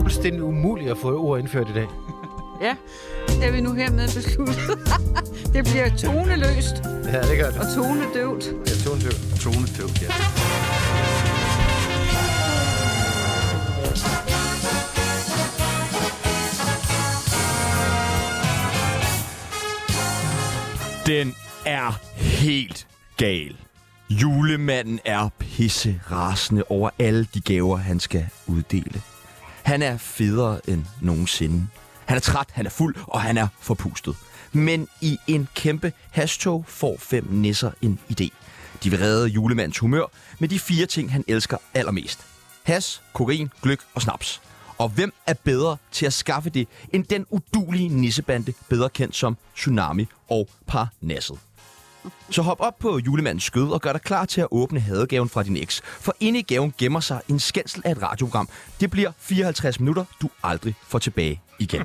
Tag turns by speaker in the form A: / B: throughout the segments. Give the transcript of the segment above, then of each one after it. A: fuldstændig umuligt at få ord indført i dag.
B: Ja, det er vi nu hermed besluttet. det bliver toneløst
A: Ja, det gør det.
B: og tonedøvt.
A: Det er tonedøv.
C: Tonedøv, ja.
D: Den er helt gal. Julemanden er pisse rasende over alle de gaver, han skal uddele. Han er federe end nogensinde. Han er træt, han er fuld, og han er forpustet. Men i en kæmpe hashtog får fem nisser en idé. De vil redde julemandens humør med de fire ting, han elsker allermest. Has, kokain, gløk og snaps. Og hvem er bedre til at skaffe det, end den udulige nissebande, bedre kendt som Tsunami og Parnasset? Så hop op på julemandens skød og gør dig klar til at åbne hadegaven fra din eks. For inde i gaven gemmer sig en skændsel af et radioprogram. Det bliver 54 minutter, du aldrig får tilbage igen.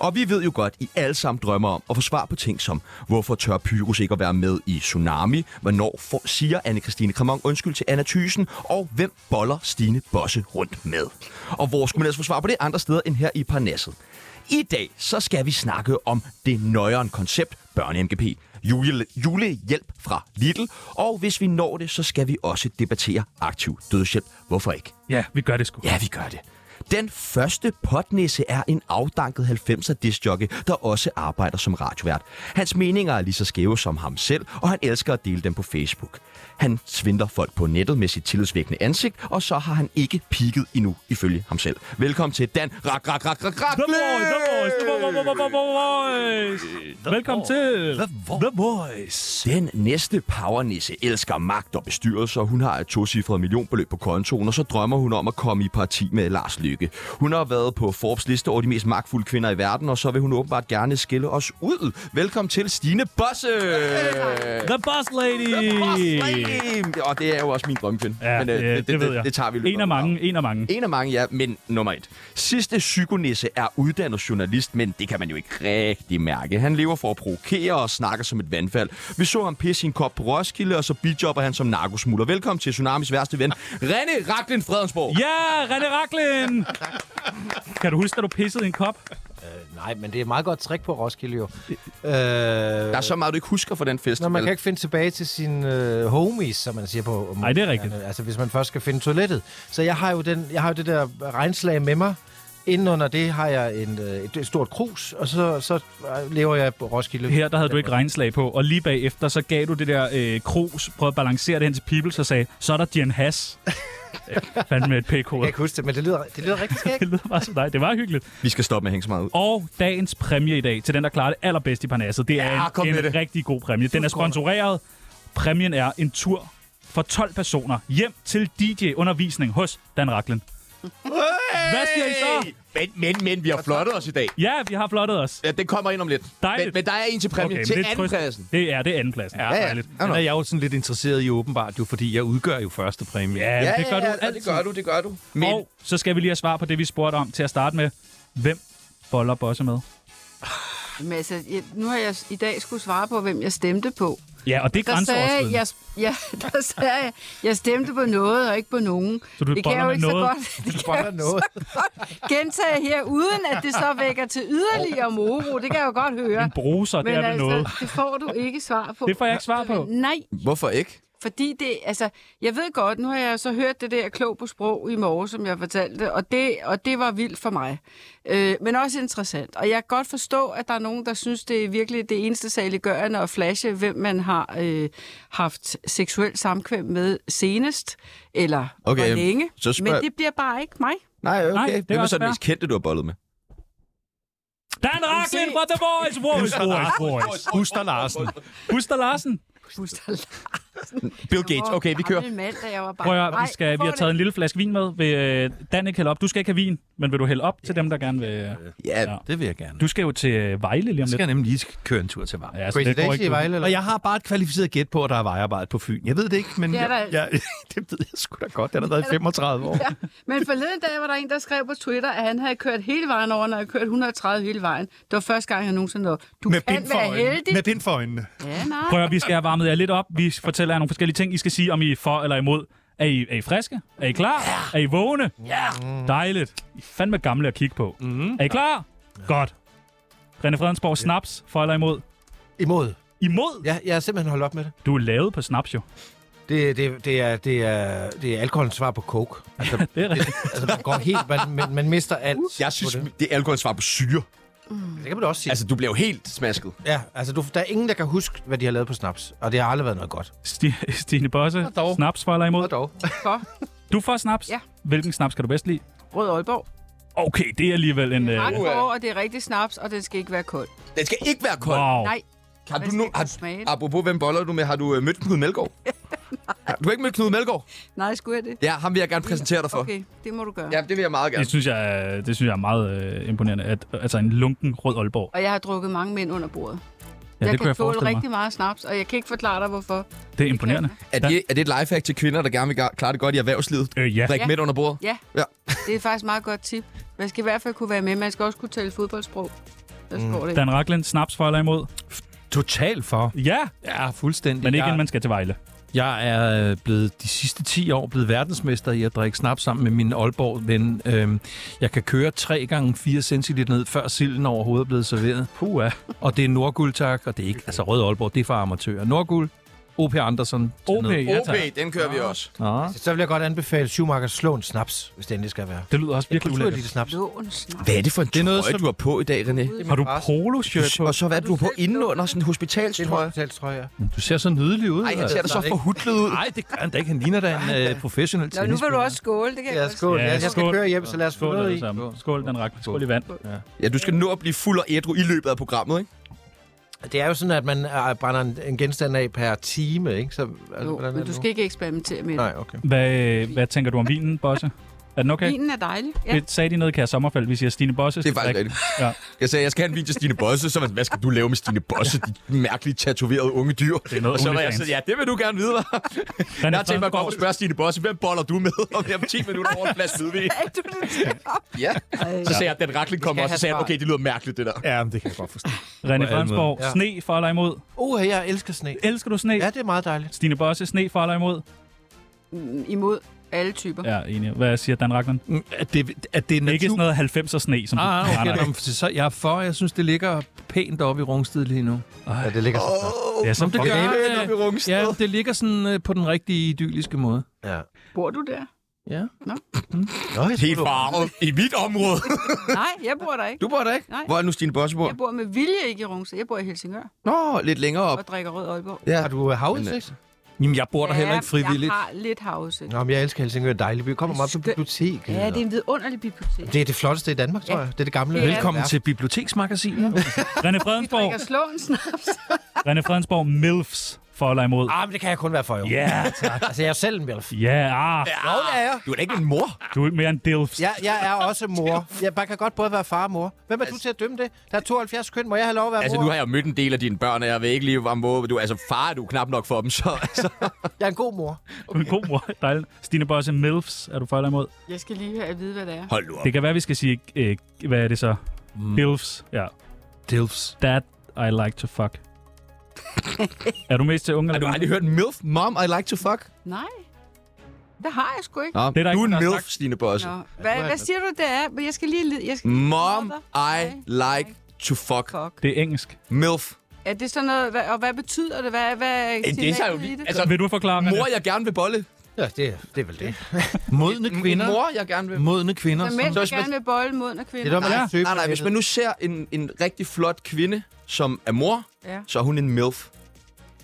D: og vi ved jo godt, I alle sammen drømmer om at få svar på ting som, hvorfor tør Pyrus ikke at være med i Tsunami? Hvornår for, siger anne Christine Kramon undskyld til Anna Thysen? Og hvem boller Stine Bosse rundt med? Og hvor skulle man ellers få svar på det andre steder end her i Parnasset? I dag så skal vi snakke om det nøjeren koncept børne-MGP, jule, julehjælp fra Lidl, og hvis vi når det, så skal vi også debattere aktiv dødshjælp. Hvorfor ikke?
E: Ja, vi gør det sgu.
D: Ja, vi gør det. Den første potnisse er en afdanket 90'er discjockey, der også arbejder som radiovært. Hans meninger er lige så skæve som ham selv, og han elsker at dele dem på Facebook. Han svindler folk på nettet med sit tillidsvækkende ansigt, og så har han ikke pigget endnu, ifølge ham selv. Velkommen til Dan Rak Rak Rak Rak Rak
E: The Voice, The Voice, The Voice, The Voice, The Voice. Velkommen til The Voice.
D: Den næste powernisse elsker magt og bestyrelse, og hun har et tocifret millionbeløb på kontoen, og så drømmer hun om at komme i parti med Lars Lykke. Hun har været på Forbes liste over de mest magtfulde kvinder i verden, og så vil hun åbenbart gerne skille os ud. Velkommen til Stine Bosse!
E: The Boss Lady.
D: Hey. Og det er jo også min drømmefilm.
E: Ja,
D: øh,
E: det, det, det, ved jeg.
D: Det, det tager vi i løbet
E: En af
D: programmet.
E: mange, en af mange.
D: En af mange, ja, men nummer et. Sidste psykonisse er uddannet journalist, men det kan man jo ikke rigtig mærke. Han lever for at provokere og snakker som et vandfald. Vi så ham pisse i en kop på Roskilde, og så bijobber han som narkosmuler. Velkommen til Tsunamis værste ven, René Raglen Fredensborg.
E: Ja, René Raklin! Kan du huske, da du pissede i en kop?
A: Øh, Nej, men det er et meget godt trick på Roskilde jo. Øh,
D: Der er så meget, du ikke husker fra den fest.
A: når man kan ikke finde tilbage til sine øh, homies, som man siger på...
E: Ej, det er rigtigt.
A: Altså, hvis man først skal finde toilettet. Så jeg har jo, den, jeg har jo det der regnslag med mig. Indenunder det har jeg en, øh, et stort krus, og så, så øh, lever jeg på Roskilde.
E: Her der havde du ikke regnslag på, og lige bagefter så gav du det der øh, krus, prøvede at balancere det hen til People, og sagde, så er der Jan Hass. Øh, Fandme et pk
A: Jeg kan ikke huske det, men det lyder, det lyder rigtig skægt.
E: Det lyder bare som dig. Det var hyggeligt.
D: Vi skal stoppe med at hænge så meget ud.
E: Og dagens præmie i dag til den, der klarer det allerbedst i Parnasset, det
D: Ja,
E: er
D: kom
E: en,
D: med
E: en
D: det.
E: rigtig god præmie. Den er sponsoreret. Præmien er en tur for 12 personer hjem til DJ-undervisning hos Dan Raklen. Hvad siger I så?
D: Men, men, men, vi har flottet os i dag.
E: Ja, vi har flottet os.
D: Ja, den kommer ind om lidt.
E: Dejligt.
D: Men, men der er en til præmien
E: men
D: okay, til
E: det er trøst.
D: andenpladsen.
E: Det er, det er andenpladsen. Ja, ja. Dejligt.
D: Ja,
F: Den er jeg jo sådan lidt interesseret i åbenbart, jo, fordi jeg udgør jo første præmie.
E: Ja, ja, det gør du
D: ja,
E: altid.
D: det gør du, det gør du.
E: Men... Og så skal vi lige have svar på det, vi spurgte om til at starte med. Hvem boller Bosse med?
B: Men altså, jeg, nu har jeg s- i dag skulle svare på, hvem jeg stemte på.
E: Ja, og det er
B: Der sagde,
E: grænseoverskridende.
B: jeg, jeg, ja, der sagde jeg, jeg stemte på noget og ikke på nogen.
E: Så du
B: det kan
E: boller
B: jeg jo
E: med
B: ikke
E: noget?
B: så godt, det kan
A: boller
B: jeg jo
A: noget.
B: så godt gentage her, uden at det så vækker til yderligere moro. Det kan jeg jo godt høre.
E: En bruser, det
B: Men
E: er vel
B: altså,
E: noget.
B: det får du ikke svar på.
E: Det får jeg ikke svar på.
B: Nej,
D: Hvorfor ikke?
B: fordi det, altså, jeg ved godt, nu har jeg så hørt det der klog på sprog i morgen, som jeg fortalte, og det, og det var vildt for mig. Øh, men også interessant. Og jeg kan godt forstå, at der er nogen, der synes, det er virkelig det eneste saliggørende at flashe, hvem man har øh, haft seksuel samkvem med senest, eller okay,
D: Okay,
B: hvor længe.
D: så spørg-
B: Men det bliver bare ikke mig.
D: Nej, okay.
E: Nej, det er
D: Nej, Hvem er
E: også
D: så den
E: fair.
D: mest kendte, du har bollet med?
E: Dan Raklin fra The Voice! Voice, Voice, Voice.
F: Buster Larsen.
E: Buster Larsen.
D: Bill Gates. Okay, vi kører.
B: Jeg var gammel mand, da jeg var barn.
E: Prøv at, høre, vi,
B: Nej,
E: skal, vi
B: får
E: har
B: det
E: taget en lille flaske vin med. Vil øh, Dan ikke hælde op? Du skal ikke have vin, men vil du hælde op til dem, der gerne vil...
D: Ja,
F: Det vil jeg gerne.
E: Du skal jo til øh, Vejle lige om
F: Jeg
E: lidt.
F: skal nemlig lige sk- køre en tur til Vejle.
E: Ja, så
A: Crazy
E: det går
A: Daisy
E: ikke.
A: i
E: du.
A: Vejle, eller?
F: Og jeg har bare et kvalificeret gæt på, at der er vejarbejde på Fyn. Jeg ved det ikke, men
B: Det er der
F: jeg,
B: altså.
F: jeg, det ved jeg sgu da godt. Den har været i 35 år.
B: Ja, men forleden dag var der en, der skrev på Twitter, at han havde kørt hele vejen over, når jeg kørt 130 hele vejen. Det var første gang, jeg nogensinde nåede. Du
F: Med
B: kan
F: bind for
B: være
F: øjnene.
B: heldig.
F: Med bind for øjnene.
B: Ja, nej.
E: Prøv at, høre, vi skal have varmet jer lidt op. Vi fortæller jer nogle forskellige ting, I skal sige, om I er for eller imod. Er I, er I friske? Er I klar? Ja. Er I vågne? Ja. Dejligt. I er fandme gamle at kigge på. Mm. Er I klar? Ja. Godt. René Fredensborg, snaps for eller imod?
A: Imod.
E: Imod? Ja.
A: Ja, jeg har simpelthen holdt op med det.
E: Du er lavet på snaps jo.
A: Det, det, det, er, det, er, det er alkoholens svar på coke. Altså, det,
E: Det er rigtigt.
A: altså man går helt, man, man, man mister alt.
D: Jeg synes, det er alkohol svar på syre.
A: det kan man da også sige. Altså,
D: Altså, du bliver jo helt smasket.
A: ja, altså du, der er ingen, der kan huske, hvad de har lavet på snaps. Og det har aldrig været noget godt.
E: Sti- Stine Bosse,
A: Og dog.
E: snaps for eller imod?
A: Og dog.
B: For
E: Du får snaps.
B: Ja.
E: Hvilken snaps kan du bedst lide?
B: Rød Aalborg.
E: Okay, det er alligevel en...
B: Det
E: Øh,
B: er ret
D: øh,
B: hård, og det er rigtig snaps, og den skal ikke være kold.
D: Den skal ikke være kold.
E: wow.
B: Nej,
D: Har
B: den
D: du
B: skal
D: nu,
B: ikke
D: har,
B: kunne smage det.
D: apropos, hvem boller du med? Har du øh, mødt Knud Melgaard? Du har ikke mødt Knud Melgaard?
B: nej, skulle jeg det?
D: Ja, ham vil jeg gerne præsentere dig for.
B: Okay, det må du gøre.
D: Ja, det vil jeg meget gerne.
E: Det synes jeg, er- det synes jeg er meget øh, imponerende. At, altså en lunken rød Aalborg.
B: Og jeg har drukket mange mænd under bordet.
E: Ja,
B: jeg
E: det
B: kan
E: kunne jeg
B: tåle
E: forestille mig.
B: rigtig meget snaps, og jeg kan ikke forklare dig, hvorfor.
E: Det er imponerende.
D: Er det, er det et lifehack til kvinder, der gerne vil ga- klare det godt i erhvervslivet?
E: Øh, ja.
D: Drik
B: Ja.
D: midt under bordet?
B: Ja,
D: Ja.
B: det er faktisk et meget godt tip. Man skal i hvert fald kunne være med. Man skal også kunne tale fodboldsprog. Der
A: Mm.
B: står det.
E: Dan Racklin, snaps for eller imod?
F: Totalt for.
E: Ja,
F: Ja, fuldstændig.
E: men ikke
F: jeg,
E: inden man skal til Vejle.
F: jeg er øh, blevet de sidste 10 år blevet verdensmester i at drikke snaps sammen med min Aalborg-ven. Øhm, jeg kan køre 3 gange 4 centiliter ned, før silden overhovedet er blevet serveret. Puh, Og det er Nordguld, tak. Og det er ikke, altså Rød Aalborg, det er for amatører. Nordguld, O.P. Andersen. til
E: OP,
F: ned.
E: ja tak.
D: OB, den kører vi også.
F: Nå.
A: Altså, Så vil jeg godt anbefale Schumachers slå en snaps, hvis det endelig skal være.
E: Det lyder også virkelig
A: Kulturligt
E: ulækkert.
A: lille snaps.
B: Lån snaps.
D: Hvad er det for en det er noget, trøje, du har på i dag, René?
E: Har du polo-shirt på?
D: Og så hvad er det, du har på indenunder? Sådan en
A: Det tror
D: hospitalstrøje?
A: jeg. tror jeg.
F: Du ser så nydelig ud.
D: Ej, han
F: altså.
D: ser da så
A: Nej,
D: forhudlet ud.
F: Nej, det gør han da ikke. Han ligner da en øh, professionel
B: Nå, nu vil du
F: tennisspiller.
B: også skåle, det kan
A: Ja,
B: jeg
A: skål.
E: Ja,
A: Ja, jeg skal
E: skål.
A: køre hjem, så lad os få
E: Skål,
A: noget
E: alle
A: i.
E: sammen. Skål, Dan Racklin. Skål i vand.
D: Ja, du skal nå at blive fuld og ædru i løbet af programmet, ikke?
A: Det er jo sådan, at man øh, brænder en, en genstand af per time, ikke? Så, altså,
B: Jo,
A: hvordan er
B: men
A: det
B: du
A: nu?
B: skal ikke eksperimentere med det.
A: Nej, okay.
E: Hvad, hvad tænker du om vinen, Bosse? Er den okay?
B: Vinen er dejlig. Ja.
E: Det sagde de noget, Kære Sommerfald. Vi siger Stine Bosse.
D: Det er faktisk
E: skal
D: rigtigt.
E: Ja.
D: Jeg sagde, jeg skal have en video til Stine Bosse, så hvad skal du lave med Stine Bosse, de mærkelige tatoverede unge dyr? Det
E: er noget
D: og så var jeg
E: OnlyFans.
D: sådan, ja, det vil du gerne vide, hva'?
E: René
D: Jeg har tænkt mig at gå op og
E: Fredensborg.
D: spørge Stine Bosse, hvem boller du med om jamen, 10 minutter over en flaske hvidvin?
B: Er du det der?
D: Ja.
B: Ej.
D: Så sagde jeg, at den rakling kommer, og så
A: have
D: sagde jeg,
A: svar.
D: okay, det lyder mærkeligt, det der.
F: Ja, men det kan jeg godt forstå.
E: René
F: alle
E: Fredensborg.
A: måder. Ja.
E: Sne for eller imod?
A: Uh, jeg elsker sne.
E: Elsker du sne?
A: Ja, det er meget dejligt.
E: Stine Bosse, sne for eller imod?
B: Mm, Imod alle typer.
E: Ja, enig. Hvad siger Dan Racklin?
F: Mm, At det, at det er natur...
E: Ikke sådan noget 90'er sne, som
F: Ah,
E: Nej,
F: okay,
E: nej.
F: nå, men så jeg er for. Jeg synes, det ligger pænt oppe i Rungsted lige nu.
A: Ja, det ligger så flot.
E: Det er som det
F: Nå,
E: gør.
F: det er-
D: Ender vi rungsted.
F: Ja, det ligger sådan øh, på den rigtige idylliske måde.
A: Ja.
B: Bor du der?
F: Ja.
A: Nå, jeg
D: Helt farvet i mit område.
B: Nej, jeg bor der ikke.
D: Du bor der ikke?
B: Nej.
D: Hvor er det nu Stine Bosse bor?
B: Jeg bor med vilje ikke i Rungsted. Jeg bor i Helsingør
D: Nå, lidt længere op.
B: og drikker rød Aalborg.
D: Ja.
A: Har du øh, havudsigt?
F: Jamen, jeg bor der heller ikke frivilligt.
B: Jeg har lidt havse.
E: øh,
A: Nå, men jeg elsker Helsingør. Dejligt. Vi kommer meget på
B: Skønt.
A: bibliotek.
B: Ja, det er en vidunderlig bibliotek.
A: det er det flotteste i Danmark, tror
B: Ja.
A: jeg. Det er det gamle.
B: Det er
F: Velkommen til Biblioteksmagasinet.
E: René
B: Vi
E: Fredensborg.
B: drikker slåen snaps.
E: René Fredensborg. MILFs for eller imod?
A: Ah, men det kan jeg kun være for, jo.
E: Ja,
A: tak. Altså, jeg er jo selv en milf.
E: Ja, ah,
A: Jo, det er jeg.
D: Du er da ikke en mor.
E: du er ikke mere en dilfs.
A: Jeg, jeg er også mor. Jeg bare kan godt både være far og mor. Hvem
E: Altså-
A: er du til at dømme det? Der er 72 køn. Må jeg have lov at være
D: Altså,
A: mor?
D: nu har jeg jo mødt en del af dine børn, og jeg ved ikke lige, hvor mor du... Altså, far er du knap nok for dem, så... Altså.
A: Jeg er en god mor.
E: Du er en god mor. Dejligt. Stine Bosse, MILFs. Er du for eller imod?
B: Jeg skal lige have at vide, hvad det er.
D: Hold nu op.
E: Det kan være, vi skal sige, øh, hvad er det så? Mm. Dilfs. Ja.
F: Dilfs.
E: That I like to fuck. er du mest til unge
D: Har
E: eller
D: du aldrig hørt MILF? Mom, I like to fuck?
B: Nej. Det har jeg sgu ikke.
D: Nå, altså-
E: der
D: du er
E: ikke
D: en
E: nogen, der har
D: MILF, Stine Bosse.
B: Nå. Hvad, hvad siger du, det er? Men jeg skal lige... lide- Jeg skal...
D: Mom, I like to fuck.
B: Fuck.
E: Det er engelsk.
D: MILF.
B: Er det sådan noget... Hvad, og hvad betyder det? Hvad, hvad
D: det er
B: signalet
D: jo lige-
B: i det?
D: altså,
E: Vil du forklare mig
D: Mor, jeg gerne vil bolle.
A: Ja, det, er- det er vel det.
F: Modne
D: En
F: kvinder.
D: mor, jeg gerne vil.
F: Modne kvinder.
B: Så mænd,
D: Så
B: der
D: hvis man-
B: gerne vil bolle mod og kvinder.
A: Det er noget, man
E: Nej,
A: kan søge
D: Nej, nej, hvis man nu ser en, en rigtig flot kvinde, som er mor,
B: Ja.
D: så er hun en MILF.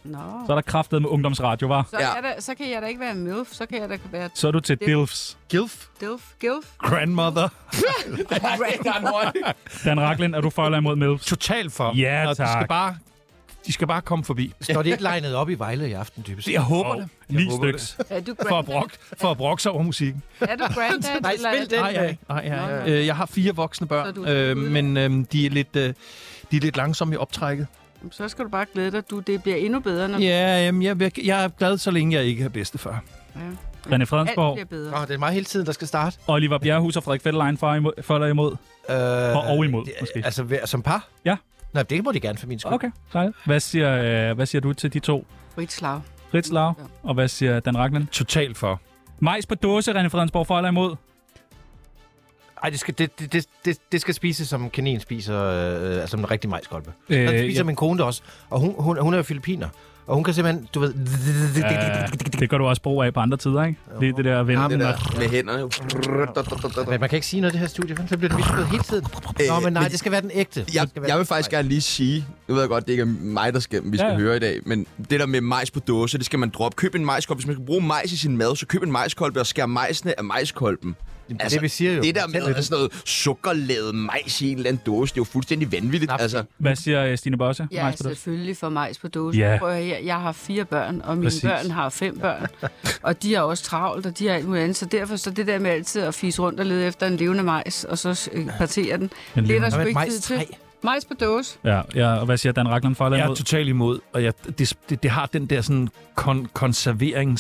B: Nå.
E: Så er der kraftet med ungdomsradio, var.
B: Så,
D: Ja.
B: er der, så kan jeg da ikke være MILF, så kan jeg da være
E: Så er du til Dilfs.
F: Gilf.
B: DILF. GILF.
F: Grandmother.
E: Dan Racklin, er du for eller imod MILFs?
F: Total for.
E: Ja,
F: Og De
E: tak.
F: skal bare, de skal bare komme forbi.
A: nu... Står de ikke legnet op i Vejle i aften, dybest?
F: Jeg håber
E: Og
F: det.
E: Ni
F: håber
E: styks.
B: Er du
F: For at,
B: granddad?
F: brok, for at brokke sig over musikken.
B: Er du granddad?
A: Nej,
B: eller-
A: spil den.
F: Nej, nej, nej.
B: Nå,
F: nej.
B: nå.
F: Øh, jeg har fire voksne
B: Så
F: børn,
B: du-
F: øh, men øh, de, er lidt, øh, de er lidt langsomme i optrækket.
B: Så skal du bare glæde dig. Du, det bliver endnu bedre, når
F: Ja, jamen, jeg, jeg, jeg er glad, så længe jeg ikke har bedstefar.
E: René
B: alt
E: Fredensborg,
B: bliver bedre.
A: Nå, det er mig hele tiden, der skal starte.
E: Oliver Bjerrehus og Frederik Fetterlein for, imod, for eller imod?
A: Øh,
E: Og, og imod,
A: det-
E: måske.
A: Altså, ved- som par?
E: Ja.
A: Nej, det må de gerne for min skyld.
E: Okay, dejligt. Hvad siger, øh, hvad siger du til de to?
B: Frit slag.
E: Fritz Lau,
B: Ja.
E: og hvad siger Dan Racklin?
F: Total for.
E: Majs på dåse, René Fredensborg, for eller imod?
A: Ej, det skal, det, det, det, det, det skal spises, som kanin spiser, øh, altså som en rigtig majskolbe. Øh, der
E: Øh,
A: spiser
E: ja.
A: ja. min kone det også, og hun, hun, hun er jo filipiner. Og hun kan simpelthen, du ved...
E: Øh, Det gør du også brug af på andre tider, ikke? Det er det der vende.
D: Det
E: den
D: der
E: og-
D: med hænderne.
A: Men man kan ikke sige noget i det her studie, for så bliver det misforstået hele tiden. Nå,
D: Øh,
A: men nej,
D: men-
A: det skal være den ægte.
D: Jeg,
A: Det skal være
D: jeg vil
A: den-
D: faktisk
A: Nej.
D: gerne lige sige, nu ved jeg godt, det ikke er mig, der skal, vi skal
E: Ja,
D: ja.
E: ja.
D: høre i dag, men det der med majs på dåse, det skal man droppe. Køb en majskolbe. Hvis man skal bruge majs i sin mad, så køb en majskolbe og skær majsene af majskolben. Altså,
A: Jamen, det er det, vi siger jo.
D: Det der
A: Fortæl
D: med sådan noget sukkerlavet majs i en eller anden dåse, det er jo fuldstændig vanvittigt.
A: Knap.
D: Altså,
E: Hvad siger øh, Stine Bosse?
B: Ja,
E: Majs på dåse.
B: selvfølgelig for majs på dåsen.
E: Ja.
B: Yeah. Prøv at høre, jeg har fire børn, og mine
F: Præcis.
B: Præcis. børn har fem børn. Og de har også travlt, og de har alt muligt andet. Så derfor så det der med altid at fise rundt og lede efter en levende majs, og så øh, partere den.
E: En
B: Det er der
E: levende-
B: sgu
A: Hvad med
B: ikke tid
A: majstræ?
B: til. Majs på dåse.
E: Ja, ja, og hvad siger Dan Racklund for eller
F: Jeg er
E: imod?
F: totalt imod, og jeg, det, det, det har den der sådan kon-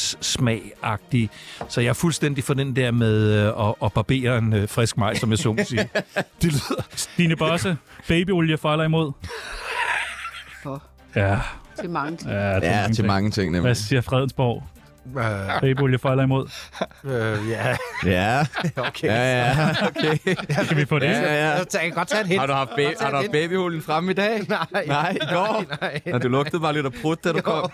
F: konserveringssmag-agtige. Så jeg er fuldstændig for den der med øh, at, at barbere en øh, frisk maj, som jeg så må sige. Det lyder...
E: Stine Bosse, babyolie for eller imod?
B: For
E: Ja,
B: til mange ting.
E: ja, det
D: ja, til mange ting
E: Hvad
D: nemlig.
E: siger Fredensborg?
A: Øh,
E: Babyolie for eller imod?
A: øh, ja,
D: Ja,
A: okay.
D: ja, ja, okay.
E: Kan vi få det?
D: Ja, ja.
A: Så Jeg kan godt tage et hint.
D: Har du haft, ba- har du haft babyhulen fremme i dag?
A: Nej.
D: Nej, i går.
A: Nej,
D: Nå, du lugtede bare lidt af prut, da du kom.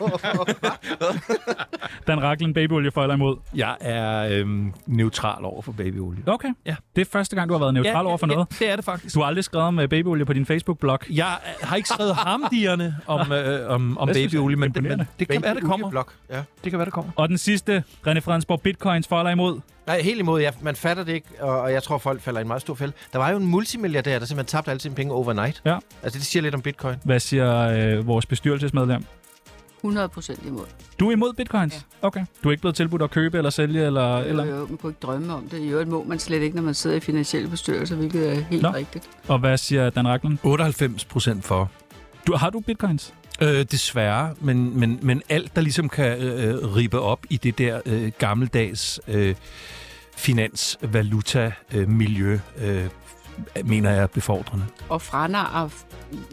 E: Dan Racklund, babyolie for eller imod?
F: Jeg er øhm, neutral over for babyolie.
E: Okay, ja. det er første gang, du har været neutral over for noget.
F: Ja, det er det faktisk.
E: Du har aldrig skrevet om øh, babyolie på din Facebook-blog.
F: Jeg øh, har ikke skrevet harmdierne om, øh, om, om
E: Det synes jeg er
F: babyolie, men, men
E: imponerende.
F: det kan være, det kommer.
A: Blok. Ja.
F: Det kan være, det kommer.
E: Og den sidste, René Fredensborg, bitcoins for eller imod?
A: Nej, helt imod. Jeg, man fatter det ikke, og, og jeg tror, folk falder i en meget stor fælde. Der var jo en multimilliardær, der simpelthen tabte alle sine penge overnight.
E: Ja.
A: Altså, det siger lidt om bitcoin.
E: Hvad siger øh, vores bestyrelsesmedlem?
B: 100 procent imod.
E: Du er imod bitcoins? Ja. Okay. Du er ikke blevet tilbudt at købe eller sælge? Eller,
B: Eller?
E: eller?
B: Jo, Øh, man kunne ikke drømme om det. I øvrigt må man slet ikke, når man sidder i finansielle bestyrelser, hvilket er helt
E: Nå.
B: Nå. rigtigt.
E: Og hvad siger Dan Racklund?
F: 98 procent for.
E: Du, har du bitcoins?
F: Øh, desværre, men, men, men alt, der ligesom kan øh, ribe op i det der øh, gammeldags øh, finans-valuta-miljø, øh, mener jeg er befordrende.
B: Og franarre
F: ved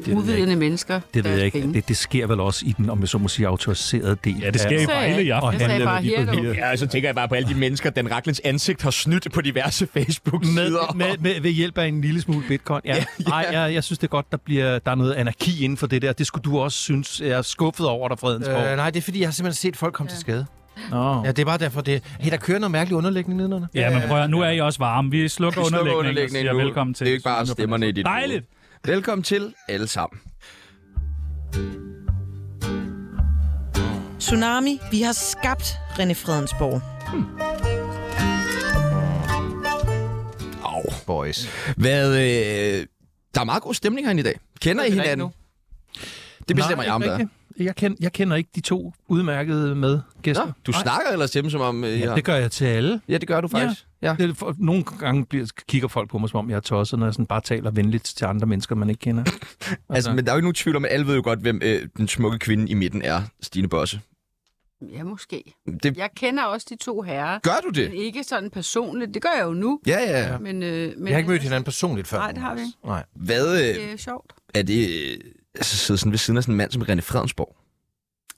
F: jeg
B: uvidende mennesker
F: Det ved
B: deres
F: jeg ikke.
B: penge.
F: Det, det sker vel også i den, om jeg så må sige, autoriserede del.
E: Ja, det sker i
F: af,
B: sagde jeg
E: Vejle i
B: ikke.
E: aften.
F: og
B: Jeg sagde
F: handle
B: bare
F: værdi
B: her,
F: på
B: du.
F: her.
D: Ja, og så tænker jeg bare på alle de mennesker, den Raklins ansigt har snydt på diverse
F: Med,
D: Facebook-sider.
F: med, med, ved hjælp af en lille smule bitcoin. Ja. Nej, jeg, jeg synes det er godt, der bliver der er noget anarki inden for det der. Det skulle du også synes. Jeg er skuffet over dig, Fredensborg.
A: Øh, nej, det er fordi, jeg har simpelthen set folk komme ja. til skade.
F: Nå.
A: Ja, det er bare derfor, det hey, der kører noget mærkeligt underlægning nedenunder.
E: Ja, men prøv at, nu er I også varme. Vi slukker
D: Vi slukker
E: underlægningen og
D: underlægningen
E: siger
D: nu.
E: velkommen til.
D: Det er ikke bare stemmerne i dit
E: Dejligt!
D: hoved. Velkommen til alle sammen.
C: Tsunami, vi har skabt René Fredensborg.
D: Au.
A: Boys.
D: Hvad, øh, der er meget god stemning herinde i dag. Kender I hinanden? Det bestemmer
F: Nej,
D: jeg om,
F: ikke
D: der er.
F: rigtigt. Jeg, kend, jeg kender ikke de to udmærkede medgæster.
D: Nå, du snakker ellers til dem, som om... Øh,
F: Ja,
D: ja,
F: det gør jeg til alle.
D: ja, det gør du faktisk. Ja.
F: Det, er for, nogle gange bliver, kigger folk på mig, som om jeg er tosset, når jeg sådan bare taler venligt til andre mennesker, man ikke kender.
D: Altså, men der er jo ikke nogen tvivl om, at alle ved jo godt, hvem øh, den smukke kvinde i midten er, Stine Bosse.
B: Ja, måske.
D: Det,
B: Jeg kender også de to herrer,
D: Gør du det?
B: men ikke sådan personligt. Det gør jeg jo nu.
D: Ja, ja. ja.
B: Men, øh, men
A: Jeg har ikke mødt hinanden personligt før.
B: Nej, det har vi ikke.
A: Nej.
D: Hvad øh,
B: Det er sjovt.
D: er det... Øh, altså, sidde sådan ved siden af sådan en mand som René Fredensborg.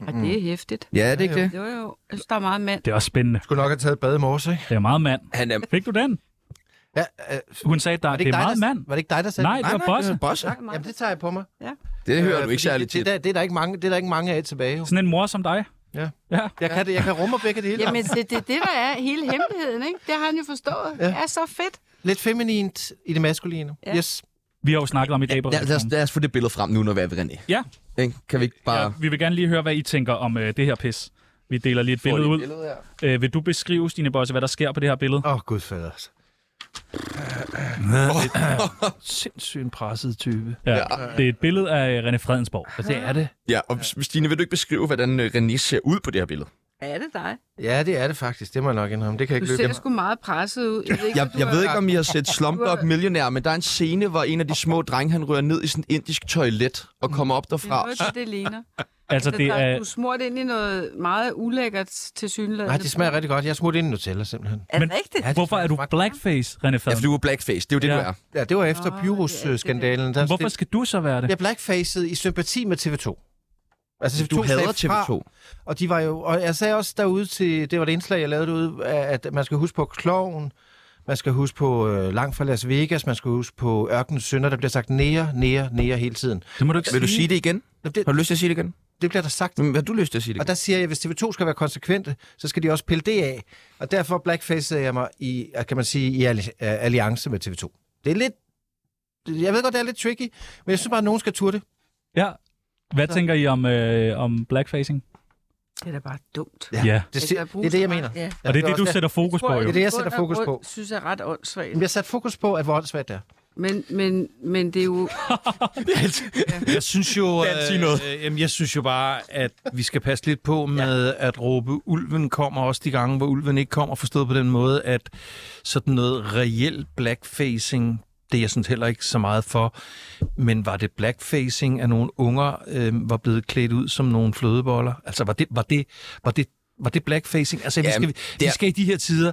B: Og det er hæftigt.
D: Ja, er det ikke det?
B: Det var jo, jeg synes, der er meget mand.
E: Det er også spændende.
A: Skulle nok have taget et bad i morges, ikke?
E: Det er meget mand.
D: Han er...
E: Fik du den?
A: Ja, øh,
E: Hun sagde, der,
A: var
E: det,
A: ikke
E: det er
A: dig,
E: meget
A: der,
E: mand.
A: Var det ikke dig, der sagde
E: Nej,
D: Nej,
E: det var
D: nej,
E: Bosse.
D: det er Bosse.
B: Tak,
A: Jamen, det tager jeg på mig. Øh,
D: Øh, Det hører du
A: fordi
D: ikke særlig
A: det, det,
D: tit.
A: der, det, er der ikke mange, det er der ikke mange af tilbage. Jo.
E: Sådan en mor som dig.
A: Ja.
E: Ja.
A: Jeg kan, det, jeg kan rumme begge dele.
B: Jamen, det, det er det, der er hele hemmeligheden, ikke? Det har han jo forstået. Ja. Det er så fedt.
A: Lidt feminint i det maskuline.
B: Ja.
A: Yes.
E: Vi har jo snakket om i dag på
D: Lad, lad, os, lad os få det billede frem nu, når vi er ved René.
E: Ja.
D: Ikke? Kan vi ikke bare...
E: Ja, vi vil gerne lige høre, hvad I tænker om øh, det her pis. Vi deler lige et billede ud. Øh, vil du beskrive, Stine Bosse, hvad der sker på det her billede?
A: Åh, oh, gudfader.
F: Sindssygt en presset type.
E: Ja. Det er et billede af øh, René Fredensborg.
F: Det er det.
D: Ja, og Stine, vil du ikke beskrive, hvordan øh, René ser ud på det her billede?
B: Er det dig?
A: Ja, det er det faktisk. Det må jeg nok indrømme. Det kan jeg
B: Du
A: ikke
B: ser
A: løbe.
B: sgu meget presset ud. Jeg ved ikke,
D: Jeg,
B: hvad du
D: jeg
B: er.
D: ved ikke, om I har set Slumdog Millionaire, men der er en scene, hvor en af de små drenge, han rører ned i sådan et indisk toilet og kommer op
B: Det er
D: derfra.
B: noget, det, det ligner.
E: Altså, det
B: der,
E: er...
B: Du er smurt ind i noget meget ulækkert til synligheden.
A: Nej, det smager rigtig godt. Jeg smurte ind i Nutella, simpelthen.
B: Er det
E: Men-
B: rigtigt?
A: Ja, det
E: Hvorfor er du
A: smager-
E: blackface, René
D: Ja, for
E: Fredensborg?
D: du er blackface. Det er jo det,
E: Ja.
D: du er.
A: Ja, det var efter
B: Nå,
A: oh,
B: det er det der.
A: Pyrus-skandalen. Der
E: Hvorfor skal du så være det?
A: Jeg blackfaced i sympati med TV2. Altså,
D: Du
A: sagde
D: hader
A: fra,
D: TV2.
A: Og de var jo, og jeg sagde også derude til, det var det indslag, jeg lavede derude, at man skal huske på kloven, man skal huske på øh, langt fra Las Vegas, man skal huske på ørkenens sønder, der bliver sagt nære, nære, nære hele tiden.
E: Det må du ikke
D: Vil du sige det igen?
A: Jamen, Det,
D: Har du lyst til at sige det igen?
A: det bliver der sagt.
D: Jamen, Har du lyst til at sige det
A: Og
D: igen?
A: der siger jeg, at hvis TV2 skal være konsekvente, så skal de også pille det af. Og derfor blackfacede jeg mig i, kan man sige, i alli- øh, alliance med TV2. Det er lidt, jeg ved godt, det er lidt tricky, men jeg synes bare, at nogen skal turde det.
E: Ja. Hvad tænker I om, øh, om blackfacing?
B: Det er da bare dumt.
A: Ja.
E: Ja.
A: Det,
B: Altså,
A: det,
B: der
A: det er det, jeg mener.
B: Ja.
E: Og det er det,
A: også
E: du sætter fokus på, jo.
A: Det er det, jeg sætter fokus på.
B: synes jeg er ret åndssvagt.
A: Jamen, Jeg satte fokus på, at hvor åndssvagt det er.
B: Men, men, men det er jo...
F: Jeg synes jo,
D: Dan, sig noget.
F: øh, øh, jamen, jeg synes jo bare, at vi skal passe lidt på med ja. at råbe, ulven kommer også de gange, hvor ulven ikke kommer, forstået på den måde, at sådan noget reelt blackfacing, det er jeg sådan heller ikke så meget for, men var det blackfacing, at nogle unger øh, var blevet klædt ud som nogle flødeboller? Altså, var det, var det, var det, var det blackfacing? Altså, vi,
D: Jamen,
F: skal, vi,
D: det
F: vi
D: er-
F: skal i de her tider,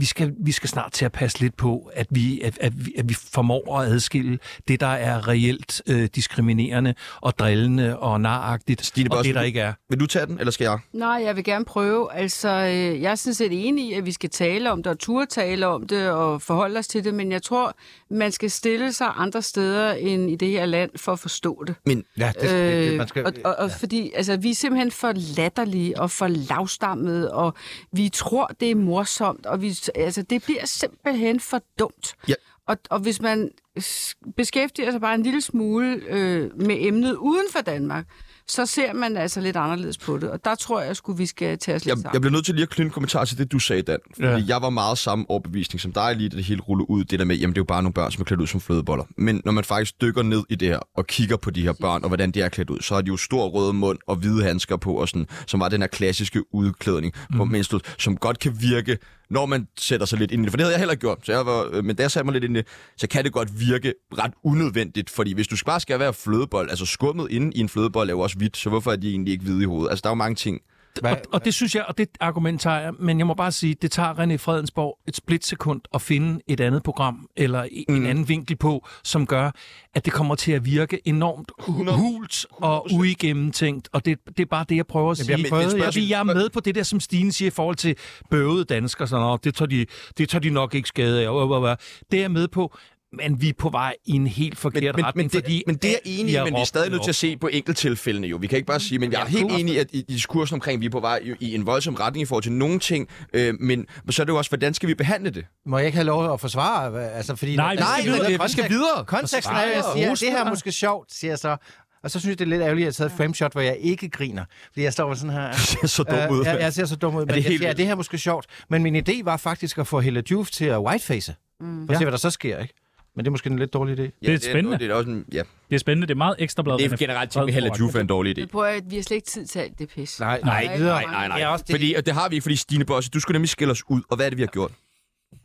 F: vi skal, vi skal snart til at passe lidt på, at vi, at, at, vi, at vi formår at adskille det, der er reelt øh, diskriminerende og drillende og naragtigt,
D: Stine
F: og
D: Bossen,
F: det, der
D: du-
F: ikke er.
D: Vil du tage den, eller skal jeg?
B: Nej, jeg vil gerne prøve. Altså, øh, jeg er sådan set enig i, at vi skal tale om det, og turde tale om det, og forholde os til det, men jeg tror, man skal stille sig andre steder end i det her land for at forstå det.
D: Men
A: Ja, det, det, det man skal,
B: Øh, og, og, og fordi altså, vi er simpelthen for latterlige og for lavstammede, og vi tror, det er morsomt, og vi, altså, det bliver simpelthen for dumt.
D: Ja.
B: Og, og hvis man s- beskæftiger sig bare en lille smule øh, med emnet uden for Danmark, så ser man altså lidt anderledes på det, og der tror jeg sgu, vi skal tage os lidt
D: jeg,
B: sammen.
D: jeg bliver nødt til lige at knytte en kommentar til det, du sagde, Dan. Fordi ja. jeg var meget samme overbevisning som dig lige, da det hele rullede ud. Det der med, jamen det er jo bare nogle børn, som er klædt ud som flødeboller. Men når man faktisk dykker ned i det her og kigger på de her børn og hvordan de er klædt ud, så har de jo stor rød mund og hvide handsker på, og sådan, som var den her klassiske udklædning på mm. menstruet, som godt kan virke, når man sætter sig lidt ind i det. For det havde jeg heller ikke gjort. Så jeg var, øh, men da jeg satte mig lidt ind i det, så kan det godt virke ret unødvendigt. Fordi hvis du bare skal være flødebold, altså skummet inde i en flødebold er jo også hvidt, så hvorfor er de egentlig ikke hvide i hovedet? Altså der er jo mange ting,
F: Og, og det synes jeg, og det argument tager jeg, men jeg må bare sige, det tager René Fredensborg et splitsekund at finde et andet program eller en mm. anden vinkel på, som gør, at det kommer til at virke enormt hu- hult og uigennemtænkt, og det, det er bare det, jeg prøver at
A: Jamen,
F: sige.
A: jeg
F: Jamen,
A: prøvede, jeg-
F: jeg, jeg er med på det der, som Stine siger i forhold til bøvede danskere, sådan, "Nå, det, tager de, det tager de nok ikke skade af, og- og- og." det er jeg med på, men vi er på vej i en helt forkert
D: men,
F: retning,
D: men, men, det,
F: fordi...
D: men det er
F: alt
D: jeg enig i,
F: bliver
D: men vi er
F: råbt
D: stadig nødt til
F: op.
D: at se på enkelttilfældene jo. Vi kan ikke bare sige, men jeg er helt enig i, at i i diskursen omkring, vi er på vej i, i en voldsom retning i forhold til nogle ting, øh, men så er det jo også, hvordan skal vi behandle det?
A: Må jeg ikke have lov at forsvare? hvad- Altså, fordi
E: Nej, vi
A: altså,
E: skal
A: det
E: videre.
A: er
E: Vi
A: kontekst-
D: skal videre.
A: Konteksten er, at jeg siger, at det her er måske sjovt, siger jeg så. Og så synes jeg, det er lidt ærgerligt, at jeg har taget et frameshot, hvor jeg ikke griner. Fordi jeg står sådan her...
D: Det ser så
A: Øh, jeg, jeg ser så dum ud, men det,
D: det helt
A: jeg siger,
D: vildt?
A: det her er måske sjovt. Men min idé var faktisk at få Hella Juf til at whiteface. Mm. For at se, hvad der så sker, ikke? Men det er måske en lidt dårlig idé.
E: Det er spændende.
D: Det er, også en, ja.
E: Det er spændende. Det er meget ekstrabladet.
D: det er generelt ting med Hella Juf er en dårlig idé.
B: Men prøv at vi har slet ikke tid til alt det pis.
A: Nej,
B: nej,
A: nej,
B: videre.
D: Nej, nej,
A: Det er
D: nej.
A: også det-
D: Fordi, og det har vi ikke, fordi Stine Bosse, du skulle nemlig skille os ud, og hvad er det, vi har gjort?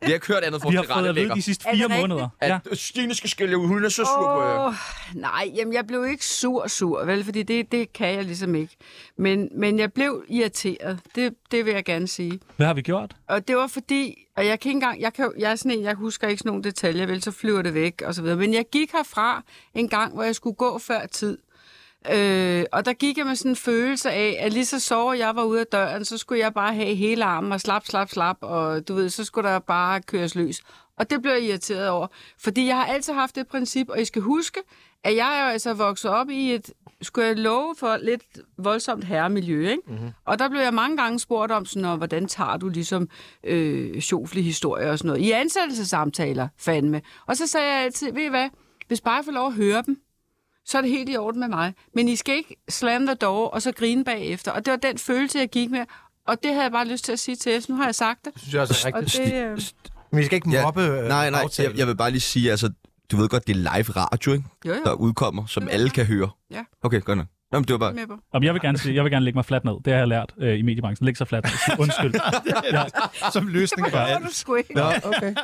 D: Vi har kørt andet for
E: Vi
D: til
E: har fået at vide de
D: rettelægger.
E: sidste
B: Er det
E: fire
B: rigtigt?
E: måneder. Ja.
D: At Stine skal skille jer ud, hun er så sur på jer.
B: Åh, nej, jamen jeg blev ikke sur, sur, vel, fordi det, det kan jeg ligesom ikke. Men, men jeg blev irriteret, det, det vil jeg gerne sige.
E: Hvad har vi gjort?
B: Og det var fordi, og jeg kan ikke engang, jeg, kan, jo- jeg er sådan en, jeg husker ikke sådan nogle detaljer, vel, så flyver det væk og så videre. Men jeg gik herfra en gang, hvor jeg skulle gå før tid. Øh, og der gik jeg med sådan en følelse af, at lige så sover jeg var ude af døren, så skulle jeg bare have hele armen og slap, slap, slap, og du ved, så skulle der bare køres løs. Og det blev jeg irriteret over, fordi jeg har altid haft det princip, og I skal huske, at jeg er jo altså vokset op i et, skulle jeg love for, lidt voldsomt herremiljø, ikke? Mm-hmm. Og der blev jeg mange gange spurgt om, sådan, "Nå, hvordan tager du ligesom øh, sjofle historier og sådan noget, i ansættelsessamtaler, fandme. Og så sagde jeg altid, ved I hvad, hvis bare jeg får lov at høre dem, så er det helt i orden med mig. Men I skal ikke slam the door og så grine bagefter. Og det var den følelse, jeg gik med. Og det havde jeg bare lyst til at sige til jer, så nu har jeg sagt det.
A: Det synes jeg også er
B: Og
A: rigtigt.
B: det, øh,
A: Men vi skal ikke mobbe øh,
D: nej, nej,
A: aftalen.
D: jeg, jeg vil bare lige sige, altså, du ved godt, det er live radio, ikke?
B: jo,
D: der
B: jo,
D: udkommer, som
B: Det ved
D: alle
B: jeg.
D: kan høre.
B: Ja.
D: Okay, godt nok. Nå, men det var bare...
B: med på.
E: Jamen, jeg, vil gerne, sige- jeg vil gerne lægge mig fladt ned. Det har jeg lært øh, i mediebranchen. Læg sig fladt ned. Undskyld.
F: Som løsning for
B: Det var
F: alt.
B: du sgu ikke.
D: Nå, okay.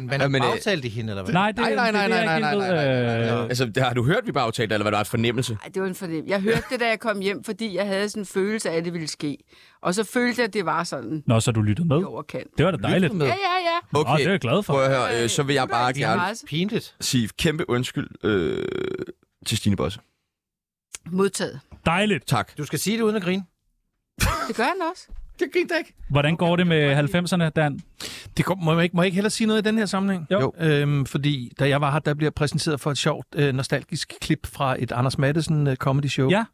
A: Men man
D: Ja, men, øh,
A: aftalte de hende, eller hvad?
E: Nej, det,
D: Nej, nej,
E: det,
D: nej,
E: det,
D: nej, nej, nej, nej, nej, nej, nej.
E: Øh,
D: Altså, det har du hørt, vi bare aftalte, eller hvad der er en fornemmelse?
B: Ej, det var en fornemmelse. Jeg hørte det, da jeg kom hjem, fordi jeg havde sådan en følelse af, at det ville ske. Og så følte jeg, at det var sådan
E: Nå, så du lyttede med.
B: i overkant.
E: Det var da dejligt.
D: Lytter med.
B: Ja, ja, ja.
E: Okay. Nå, det er jeg glad for.
D: Prøv at høre, øh, så vil jeg bare
B: Det er
D: gerne
B: meget
A: Pinligt.
D: sige kæmpe undskyld øh, til Stine Bosse.
B: modtaget.
E: Dejligt.
D: Tak.
A: Du skal sige det uden at grine.
B: Det gør han også.
A: Det griner ikke.
E: Hvordan går det med 90'erne, Dan?
F: Det kom, må, jeg ikke, må jeg ikke hellere sige noget i den her sammenhæng?
E: Jo.
F: Øhm, fordi da jeg var her, der blev jeg præsenteret for et sjovt, øh, nostalgisk klip fra et Anders Madsen øh, comedy show.
E: Ja.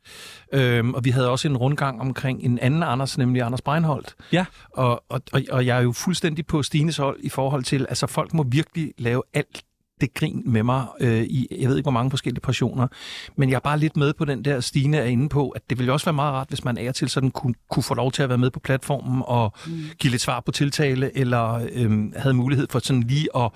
F: Øhm, og vi havde også en rundgang omkring en anden Anders, nemlig Anders Breinholt.
E: Ja.
F: Og, og, og, og jeg er jo fuldstændig på Stines hold i forhold til, altså folk må virkelig lave alt det grin med mig øh, i, jeg ved ikke, hvor mange forskellige portioner. Men jeg er bare lidt med på den der, Stine er inde på, at det ville også være meget rart, hvis man af og til sådan kunne, kunne få lov til at være med på platformen og mm. give lidt svar på tiltale, eller øh, havde mulighed for sådan lige at,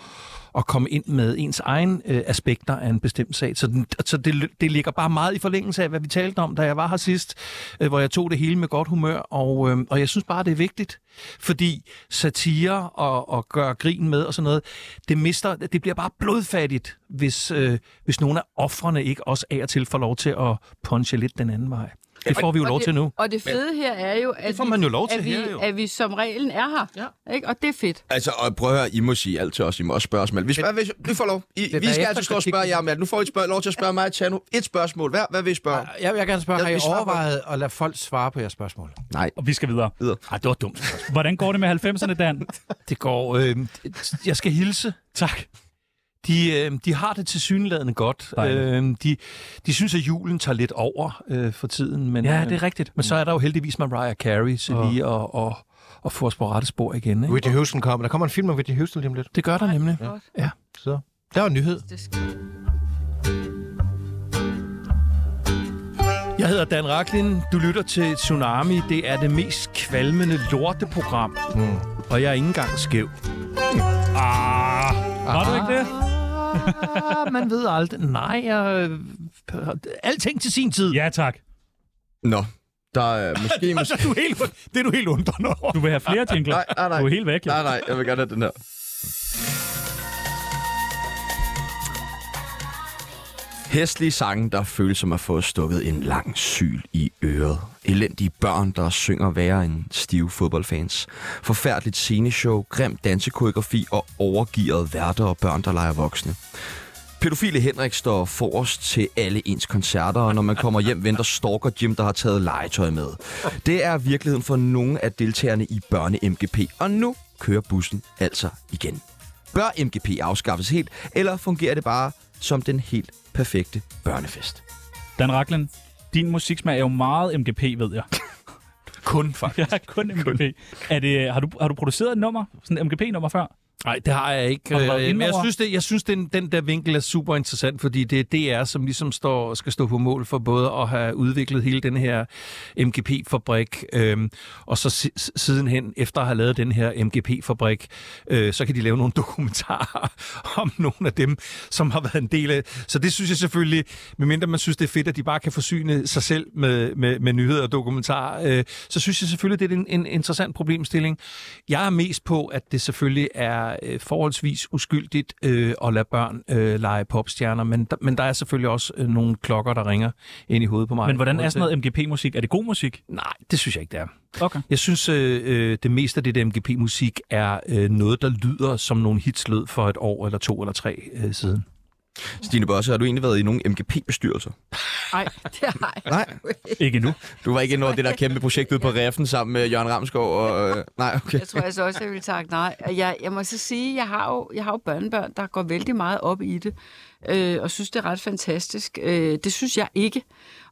F: at komme ind med ens egen øh, aspekter af en bestemt sag. Så, den, så det, det ligger bare meget i forlængelse af, hvad vi talte om, da jeg var her sidst, øh, hvor jeg tog det hele med godt humør, og, øh, og jeg synes bare, det er vigtigt, fordi satire og, og gøre grin med og sådan noget, det, mister, det bliver bare blodfattigt, hvis, øh, hvis nogle af offrene ikke også af og til får lov til at punche lidt den anden vej. Det får vi jo
B: og
F: lov
B: det,
F: til nu.
B: Og det fede her er jo, at,
F: får
B: vi-
F: man jo lov til
B: at, vi,
F: her, jo.
B: at vi som reglen er her. Ja. Ikke? Og det er fedt.
D: Altså, og prøv at høre, I må sige alt til os. I må også spørge os, men hvis, hvad, hvis, du får lov. I,
A: er
D: vi skal
A: efter
D: altid stå og
A: kritik.
D: spørge jer om alt. Nu får I spørg, lov til at spørge mig, Tjano. Et spørgsmål. Hvad, hvad vil I spørge om?
A: Jeg vil gerne spørge,
D: Ja,
A: har
D: vi
A: I
D: svarer på-
A: overvejet at lade folk svare på jeres spørgsmål?
D: Nej.
E: Og vi skal videre.
D: Videre.
E: Ej, det var dumt. Hvordan går det med 90'erne, Dan?
F: Det går... Øh, jeg skal hilse.
E: Tak.
F: De, øh, de har det til syneladende godt.
E: Dejligt.
F: Øh, de, de synes, at julen tager lidt over øh, for tiden. Men,
E: Ja,
F: øh,
E: det er rigtigt.
F: Men så er der jo heldigvis Mariah Carey, så lige og, og, og få os på rette spor igen. Ikke?
A: Whitney Houston kommer. Der kommer en film om Whitney Houston lige om lidt.
F: Det gør der nemlig.
B: Godt.
F: Ja.
A: Så der var en nyhed.
B: Det skal
F: Jeg hedder Dan Raklin. Du lytter til Tsunami. Det er det mest kvalmende lorteprogram. Mm. Og jeg er ikke engang skæv.
E: Var du ikke det?
F: Ah, man ved aldrig. Nej, jeg... øh, Alting til sin
D: Ah.
F: tid.
E: Ja, tak.
D: Nå. Der er måske... måske...
F: Du er helt, det er du helt undrende over.
E: Du vil have flere jingler.
D: Ah, Nej, nej, Ah, nej.
E: Du er helt væk. jo.
D: Nej, nej, jeg vil gerne have den her. Hæstlige sange, der føles som at få stukket en lang syl i øret. Elendige børn, der synger værre end stive fodboldfans. Forfærdeligt sceneshow, grim dansekoreografi og overgearet værter og børn, der leger voksne. Pædofile Henrik står forrest til alle ens koncerter, og når man kommer hjem, venter stalker Jim, der har taget legetøj med. Det er virkeligheden for nogle af deltagerne i børne-MGP, og nu kører bussen altså igen. Bør MGP afskaffes helt, eller fungerer det bare som den helt perfekte børnefest?
E: Dan Raklen, din musiksmag er jo meget MGP, ved jeg.
F: Kun, faktisk.
E: Jeg er kun MGP. Er det, har, du, har du produceret et nummer? Sådan et MGP-nummer før?
F: Nej, det har jeg ikke.
E: Har du været
F: Øh,
E: inde
F: Men jeg
E: over?
F: synes, det, jeg synes den, den der vinkel er super interessant, fordi det er DR, som ligesom står, skal stå på mål for både at have udviklet hele den her MGP-fabrik, øhm, og så si- s- sidenhen, efter at have lavet den her MGP-fabrik, øh, så kan de lave nogle dokumentarer om nogle af dem, som har været en del af. Så det synes jeg selvfølgelig, medmindre man synes, det er fedt, at de bare kan forsyne sig selv med, med, med nyheder og dokumentarer, øh, så synes jeg selvfølgelig, det er en, en interessant problemstilling. Jeg er mest på, at det selvfølgelig er øh, forholdsvis uskyldigt øh, at lade børn øh, lege popstjerner, men, der- men der er selvfølgelig også øh, nogle klokker, der ringer ind i hovedet på mig.
E: Men hvordan er sådan noget MGP-musik? Er det god musik?
F: Nej, det synes jeg ikke, det er.
E: Okay.
F: Jeg synes, øh, øh, det meste af det der MGP-musik er øh, noget, der lyder som nogle hits lød for et år eller to eller tre øh, siden.
D: Stine Bosse, har du egentlig været i nogle MGP-bestyrelser?
B: Nej, det har jeg.
D: Nej.
E: Ikke endnu.
D: Du var ikke inde over det der kæmpe projekt ude på Reffen sammen med Jørgen Ramskov og... Øh, nej, okay.
B: Jeg tror altså også, jeg ville takke nej. Og Jeg, jeg må så sige, jeg har, jo, jeg har jo børnebørn, der går vældig meget op i det, øh, og synes, det er ret fantastisk. Øh, det synes jeg ikke.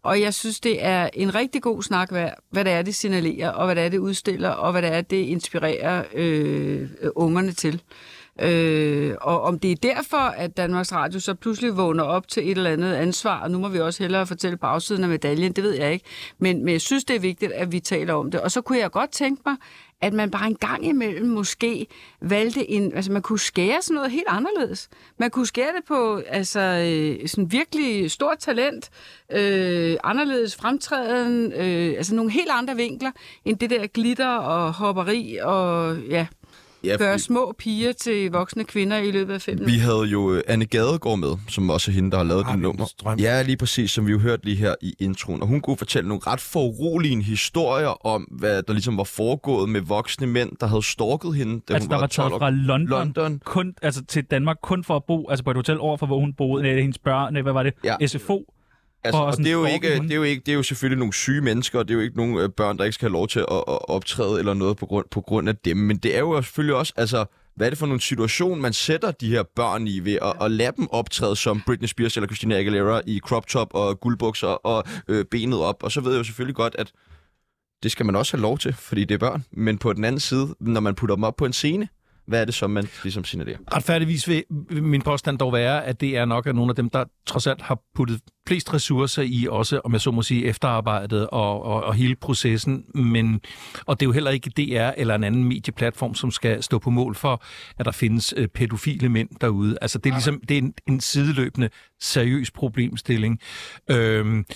B: Og jeg synes, det er en rigtig god snak, hvad, hvad det er, det signalerer, og hvad det er, det udstiller, og hvad det er, det inspirerer øh, ungerne til. Øh, og om det er derfor, at Danmarks Radio så pludselig vågner op til et eller andet ansvar, og nu må vi også hellere fortælle bagsiden af medaljen, det ved jeg ikke. Men, men jeg synes, det er vigtigt, at vi taler om det. Og så kunne jeg godt tænke mig, at man bare en gang imellem måske valgte en... Altså, man kunne skære sådan noget helt anderledes. Man kunne skære det på altså, øh, sådan virkelig stort talent, øh, anderledes fremtræden, øh, altså nogle helt andre vinkler, end det der glitter og hopperi og ja,
D: Ja,
B: gøre små piger til voksne kvinder i løbet af fem
D: Vi havde jo øh, Anne Gadegaard med, som også er hende, der har lavet det
A: Arvindens
D: nummer.
A: Drøm.
D: Ja, lige præcis, som vi jo hørte lige her i introen. Og hun kunne fortælle nogle ret foruroligende historier om, hvad der ligesom var foregået med voksne mænd, der havde stalket hende, da
E: Altså,
D: hun
E: der
D: var,
E: var taget
D: 12 år.
E: fra London,
D: London.
E: Kun, altså, til Danmark kun for at bo altså, på et hotel over for, hvor hun boede. Nej, det er hendes børn. Nej, hvad var det?
D: Ja.
E: SFO.
D: Altså,
E: Og
D: og
E: sådan
D: det, er jo
E: orgie,
D: ikke,
E: man.
D: det, er jo ikke, det er jo selvfølgelig nogle syge mennesker, og det er jo ikke nogle øh, børn, der ikke skal have lov til at, at optræde eller noget på grund, på grund af dem. Men det er jo selvfølgelig også, altså, hvad er det for nogle situation, man sætter de her børn i ved at, at lade dem optræde som Britney Spears eller Christina Aguilera i crop top og guldbukser og øh, benet op. Og så ved jeg jo selvfølgelig godt, at det skal man også have lov til, fordi det er børn. Men på den anden side, når man putter dem op på en scene, hvad er det så, man ligesom signalerer?
F: Retfærdigvis vil min påstand dog være, at det er nok af nogle af dem, der trods alt har puttet flest ressourcer i også, om jeg så må sige, efterarbejdet og, og, og hele processen. Men, og det er jo heller ikke DR eller en anden medieplatform, som skal stå på mål for, at der findes øh, pædofile mænd derude. Altså det er ligesom det er en, en sideløbende seriøs problemstilling. Øhm,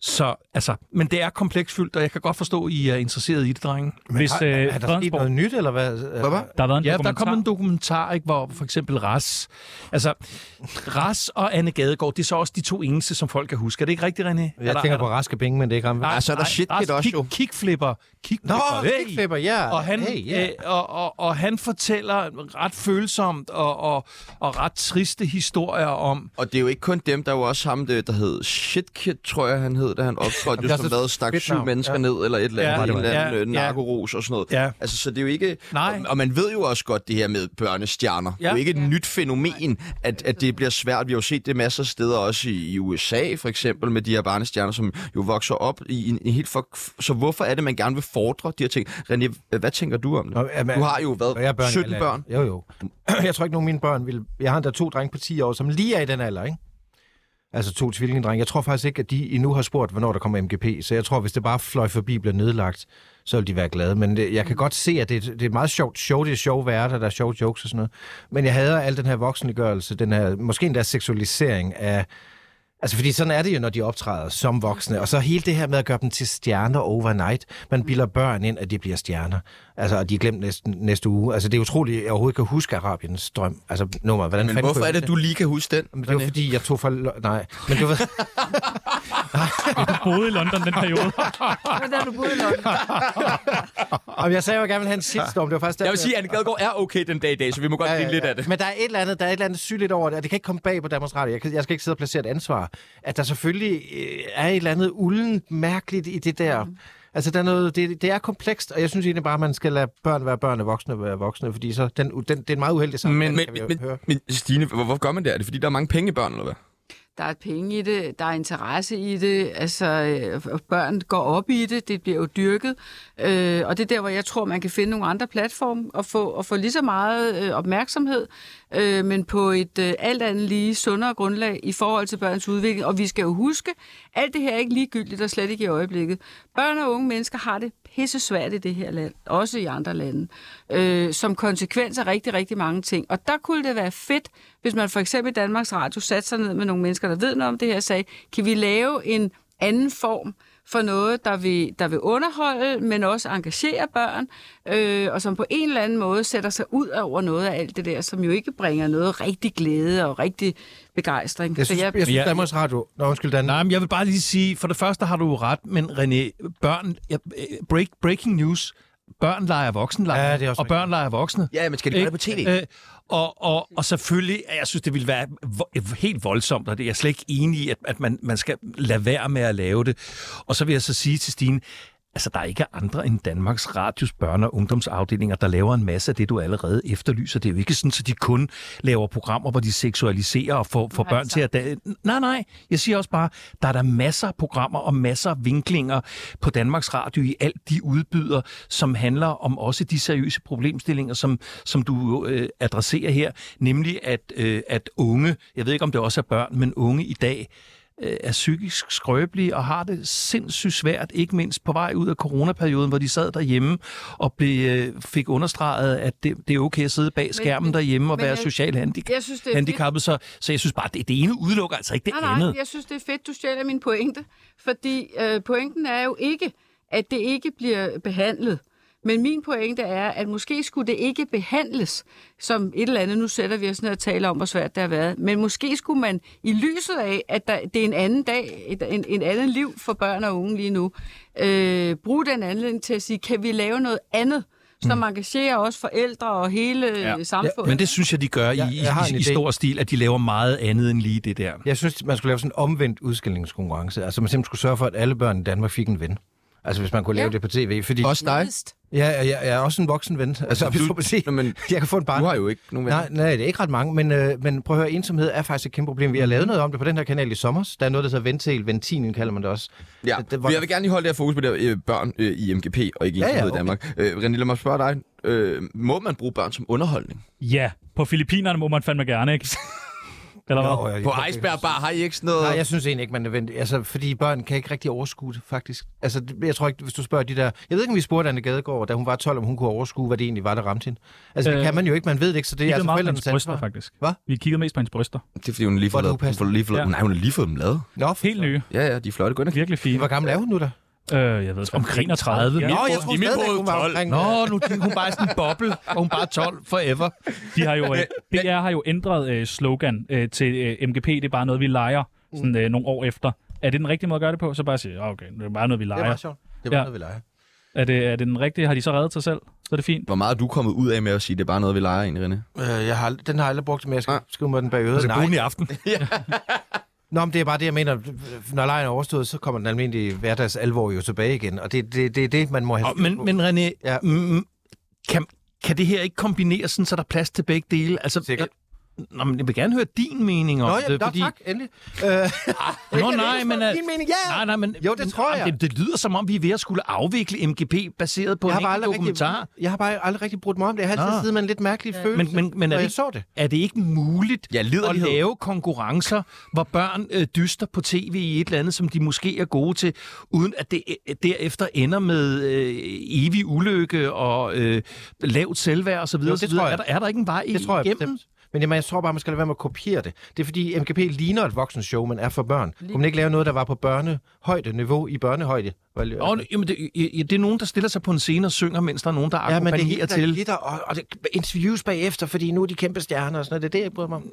F: så altså, men det er kompleksfyldt, og jeg kan godt forstå, at I er interesseret i det, drenge.
E: Hvis øh,
A: er der sket
E: Fredensborg,
A: noget nyt, eller hvad?
D: Hvad?
E: der har været en
F: Ja, der
E: dokumentar,
F: kom en dokumentar, ikke, hvor for eksempel Ras, altså Ras og Anne Gadegaard, det er så også de to eneste, som folk kan huske. Er det ikke rigtigt, René? Jeg
A: Jeg tænker på raske bænge, men det er ikke ramt.
D: Ah, så er der Shitkid også, jo.
F: Kickflipper.
A: Nå,
F: Kickflipper. hey!
A: kickflipper, ja.
F: Og han,
A: Hey,
F: yeah.
A: ja.
F: øh, og, og, og han fortæller ret følsomt og, og, og ret triste historier om...
D: Og det er jo ikke kun dem, der er jo også ham, der, der hed Shitkid, tror jeg, han hed, da han optrådte,
A: det er
D: jo, som
A: også et
D: lavede stak
A: fedt
D: syv
A: navn,
D: mennesker
A: ja.
D: ned, eller et eller
F: Ja,
D: andet,
F: det
D: ja, en
F: var det.
D: eller anden
F: Ja,
D: ja,
F: ja.
D: narkoros og sådan noget.
F: Ja.
D: Altså, så det er jo ikke...
F: Nej.
D: Og, og man ved jo også godt det her med børnestjerner. Ja. Det er jo
F: Ja.
D: ikke et nyt fænomen, at, at det bliver svært. Vi har jo set det masser af steder, også i, i USA for eksempel, med de her barnestjerner, som jo vokser op i en, en helt... For... Så hvorfor er det, man gerne vil fordre de her ting? René, hvad tænker du om det?
A: Nå, jamen,
D: du har jo
A: Og jeg er
D: været
A: børn i
D: 17
A: alle
D: børn.
A: aldre. Jo, jo. Jeg tror ikke, nogen af mine børn vil... Jeg har endda to drenge på 10 år, som lige er i den alder, ikke? Altså to tvillingedrenge. Jeg tror faktisk ikke, at de endnu har spurgt, hvornår der kommer MGP. Så jeg tror, hvis det bare fløj forbi bliver nedlagt, så vil de være glade. Men det,
D: Mm.
A: jeg kan godt se, at det, det er et meget sjovt show. Det er sjove værter, der er sjove jokes og sådan noget. Men jeg hader al den her voksenliggørelse, den her, måske endda seksualisering af... Altså, fordi sådan er det jo, når de optræder som voksne. Og så hele det her med at gøre dem til stjerner overnight. Man
D: Mm.
A: bilder børn ind, at de bliver stjerner. Altså, og de er glemt næste, næste uge. Altså, det er utroligt, at jeg overhovedet kan huske Arabiens drøm. Altså, nummer, hvordan
D: Men
A: fanden
D: hvorfor
A: kunne
D: er
A: jeg
D: det, du lige kan huske den?
A: men det var fordi, jeg tog for... lo- Nej, men du ved...
E: der boede i London den periode.
B: Men da du boede i London.
A: Om jeg sagde, at jeg gerne ville have en shitstorm. Det var faktisk der,
D: Jeg vil sige, at Anne Gadegaard er okay den dag i dag, så vi må godt grine lidt af det.
A: Men der er et eller andet, der er et eller andet sygeligt over det, og det kan ikke komme bag på Danmarks Radio. Jeg, kan, jeg skal ikke sidde og placere et ansvar. At der selvfølgelig øh, er et eller andet uldent mærkeligt i det der.
D: Mhm.
A: Mm. Altså, der er noget, det, det er komplekst, og jeg synes egentlig bare, at man skal lade børn være børn og voksne være voksne, fordi så den, den, det er en meget uheldig sammen.
D: Men,
A: kan vi
D: men,
A: jo
D: men,
A: høre.
D: men, men Stine, hvor, hvorfor gør man det? Er det fordi, der er mange penge i børn, eller hvad?
B: Der er penge i det, der er interesse i det, altså øh, og børn går op i det, det bliver jo dyrket, øh, og det er der, hvor jeg tror, man kan finde nogle andre platforme og få, og få lige så meget øh, opmærksomhed, øh, men på et øh, alt andet lige sundere grundlag i forhold til børns udvikling, og vi skal jo huske, alt det her er ikke ligegyldigt og slet ikke i øjeblikket. Børn og unge mennesker har det pisse svært i det her land, også i andre lande, øh, som konsekvens af rigtig, rigtig mange ting. Og der kunne det være fedt, hvis man for eksempel i Danmarks Radio satte sig ned med nogle mennesker, der ved noget om det her, og sagde, kan vi lave en anden form for noget, der vil, der vil underholde, men også engagere børn, øh, og som på en eller anden måde sætter sig ud over noget af alt det der, som jo ikke bringer noget rigtig glæde og rigtig begejstring.
A: Jeg synes, jeg, jeg synes
F: Ja.
A: Danmarks Radio... Nå, undskyld, Dan.
F: Nej, men jeg vil bare lige sige, for det første har du jo ret, men René, børn... Ja, øh, break, breaking news. Børn leger voksenleger,
A: Ja, det er også
F: og børn leger voksne.
D: Ja, men skal de
F: Ikke?
D: gøre det på tv?
F: Øh, og, og, og selvfølgelig, jeg synes, det ville være vo- helt voldsomt, og det er jeg slet ikke enig i, at, at man, man skal lade være med at lave det. Og så vil jeg så sige til Stine, altså der er ikke andre end Danmarks Radios børne- og ungdomsafdelinger, der laver en masse af det, du allerede efterlyser. Det er jo ikke sådan, at de kun laver programmer, hvor de seksualiserer og får, får børn til at... Da- nej, nej, jeg siger også bare, der er der masser af programmer og masser af vinklinger på Danmarks Radio i alt, de udbyder, som handler om også de seriøse problemstillinger, som, som du jo, øh, adresserer her, nemlig at, øh, at unge, jeg ved ikke om det også er børn, men unge i dag øh, er psykisk skrøbelige og har det sindssygt svært, ikke mindst på vej ud af coronaperioden, hvor de sad derhjemme og blev, øh, fik understreget, at det, det er okay at sidde bag skærmen
B: men-
F: derhjemme og
B: men
F: være
B: jeg-
F: socialt handicap.
B: jeg synes, det er
F: handicappet. Så, så jeg synes bare, at det, det ene udelukker altså ikke det
B: nej,
F: andet.
B: Nej, jeg synes, det er fedt, du stjæler min pointe. Fordi øh, pointen er jo ikke, at det ikke bliver behandlet. Men min pointe er, at måske skulle det ikke behandles som et eller andet. Nu sætter vi os ned og taler om, hvor svært det har været. Men måske skulle man i lyset af, at der, det er en anden dag, et, en, en anden liv for børn og unge lige nu, øh, bruge den anledning til at sige, kan vi lave noget andet? som mm. engagerer også forældre og hele ja. samfundet.
F: Men det synes jeg, de gør i,
A: Jeg- jeg har
F: i,
A: en
F: i
A: idé.
F: stor stil, at de laver meget andet end lige det der.
A: Jeg synes, man skulle lave sådan en omvendt udskillingskonkurrence. Altså, man simpelthen skulle sørge for, at alle børn i Danmark fik en ven. Altså, hvis man kunne lave
B: Ja.
A: det på tv. Fordi,
D: øh, Også dig?
A: Ja, jeg, jeg er også en voksen ven. Altså, hvis
D: Du-
A: du må sige,
D: Nå, men
A: jeg kan få en barn.
D: du har jo ikke nogen venner.
A: Nej, nej, det er ikke ret mange, men, øh, men prøv at høre, ensomhed er faktisk et kæmpe problem.
D: Mhm.
A: Vi har lavet noget om det på den her kanal i sommer. Der er noget, der hedder ventil, ventinen kalder man det også.
D: Ja,
A: Det-
D: det,
A: det
D: det
A: var-
D: Jeg vil gerne lige holde det her fokus på det her, øh, børn øh, i MGP og ikke
A: Ja,
D: ja,
A: ja,
D: ja, okay. i
A: okay.
D: Danmark. Øh, René, lad mig spørge dig. Øh, må man bruge børn som underholdning?
E: Ja, på Filippinerne må man fandme gerne, ikke? Eller hvad?
A: jeg,
D: På Iceberg Bar har I ikke sådan noget...
A: Nej, jeg synes egentlig ikke, man er nødvendig. Altså, fordi børn kan ikke rigtig overskue det, faktisk. Altså, det- jeg tror ikke, hvis du spørger de der... Jeg ved ikke, om vi spurgte Anne Gadegaard, da hun var 12, om hun kunne overskue, hvad det egentlig var, der ramte hende. Altså, det
E: Øh,
A: kan man jo ikke, man ved det ikke, så det
E: Vi
A: er
E: kiggede
A: altså
E: meget på hendes
A: forældrenes
E: bryster,
A: ansvar.
E: faktisk.
A: Hvad?
E: Vi kiggede mest på hendes bryster.
D: Det er fordi, hun lige får
A: Hvor er det
D: lavet... Hun får
A: upassende.
D: lige får lavet
E: Ja.
D: Nej, hun har lige fået dem lavet.
A: Nå, for
E: Helt nye.
D: Ja, ja, de er flotte. Gå ind og
E: Virkelig fine.
A: Hvor gammel er hun nu, da?
E: Øh, jeg ved Omkring 31. Ja.
A: Nå,
D: båd-
A: jeg tror
D: i min
A: stadigvæk,
D: båd
A: hun var
D: 12.
A: omkring...
F: Nå, nu er hun bare sådan en boble, og hun bare 12 forever.
E: De har jo, øh, DR har jo ændret øh, slogan øh, til øh, MGP, det er bare noget, vi leger sådan, øh, nogle år efter. Er det den rigtige måde at gøre det på? Så bare sige, "Ah, okay, det er bare noget, vi
A: Det er
E: leger.
A: meget sjovt. Det var
E: Ja.
A: noget, vi leger.
E: Er det, er det den rigtige? Har de så reddet sig selv? Så er det fint.
D: Hvor meget er du kommet ud af med at sige, at det er bare noget, vi leger egentlig, René?
A: Øh, jeg har, ald- den har jeg aldrig brugt, men jeg skal
D: Nej.
A: skrive mig den bag øret.
F: Altså,
A: Nej.
F: bruge den i aften.
A: Nå, men det er bare det, jeg mener. Når lejen er overstået, så kommer den almindelige hverdags alvor jo tilbage igen. Og det er det, det, det, man må have...
F: Og, men, men René,
A: Ja.
F: ja. mm, kan, kan det her ikke kombineres sådan, så der er plads til begge dele? Altså,
A: Sikkert.
F: Jeg, nå, men jeg vil gerne høre din mening om
A: Nå, ja,
F: det.
A: nå, tak, endelig. Øh,
F: Nå, nej, men...
A: er
F: øh,
A: din mening, ja!
F: Nej, nej, men,
A: Jo, det tror jeg.
F: Det, det lyder som om, vi er ved at skulle afvikle MGP baseret på en enkelt dokumentar.
A: Rigtig, jeg har bare aldrig rigtig brugt mig om det. Jeg har altid
F: Nå.
A: siddet med en lidt mærkelig ja. følelse,
F: Men, men, men
A: når
F: er,
A: jeg
F: det, ikke-
A: så det.
F: er det ikke muligt
D: Ja,
F: at
D: liderlighed.
F: lave konkurrencer, hvor børn øh, dyster på tv i et eller andet, som de måske er gode til, uden at det øh, derefter ender med øh, evig ulykke og øh, lavt selvværd osv.?
A: Jo, det tror jeg.
F: Er der, er der ikke en vej
A: Det tror jeg
F: igennem?
A: bestemt. Men jamen, jeg tror bare, man skal lade være med at kopiere det. Det er fordi, MGP ligner et voksenshow, men er for børn. Kunne man ikke lave noget, der var på børnehøjde, niveau i børnehøjde? Vel,
F: Nå, jamen, det, ja, det er nogen, der stiller sig på en scene og synger, mens der er nogen, der
A: Ja, men det er
F: akkompagnerer
A: helt
F: til.
A: til. Glitter, og, og det, interviews bagefter, fordi nu er de kæmpe stjerner og sådan noget. Det er det, jeg bryder mig om.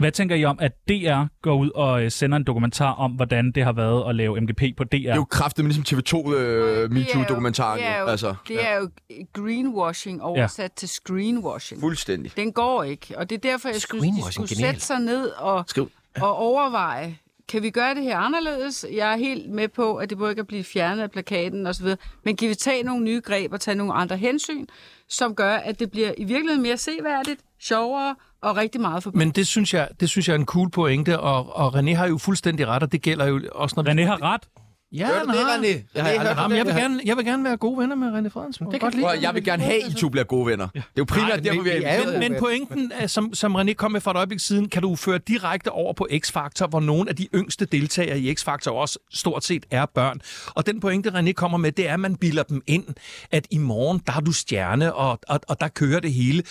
E: Hvad tænker I om, at DR går ud og øh, sender en dokumentar om, hvordan det har været at lave MGP på DR?
D: Det er jo kraftigt, men ligesom TV2 øh, MeToo-dokumentaren.
B: Det er jo,
D: jo. Altså,
B: det er jo greenwashing oversat ja. til screenwashing.
D: Altså, fuldstændig.
B: Den går ikke, og det er derfor, jeg synes, de
A: Screenwashing,
B: skulle
A: genialt.
B: sætte sig ned og,
D: Skriv.
B: og overveje, kan vi gøre det her anderledes? Jeg er helt med på, at det både kan blive fjernet af plakaten osv., men kan vi tage nogle nye greb og tage nogle andre hensyn, som gør, at det bliver i virkeligheden mere seværdigt, sjovere og rigtig meget for
F: Men det synes, jeg, det synes jeg er en cool pointe, og, og René har jo fuldstændig ret, og det gælder jo også, når vi...
E: René har ret.
F: Ja,
D: Hørte du
F: han
D: det,
F: har.
D: René? Det har jeg aldrig
F: Jamen, jeg, vil gerne, jeg vil gerne være gode venner med René Frederiksen. Det kan
D: Prøv, at- jeg vil gerne have, at I to bliver gode venner. Det er jo primært
A: men
D: derfor,
A: vi-
D: vi
A: vi
D: er
A: er jo-
D: inviteret.
F: men, men pointen, er, som, som René kom med for et øjeblik siden, kan du føre direkte over på X-Factor, hvor nogle af de yngste deltagere i X-Factor også stort set er børn. Og den pointe, René kommer med, det er, at man bilder dem ind, at i morgen, der er du stjerne, og, og, og der kører det hele.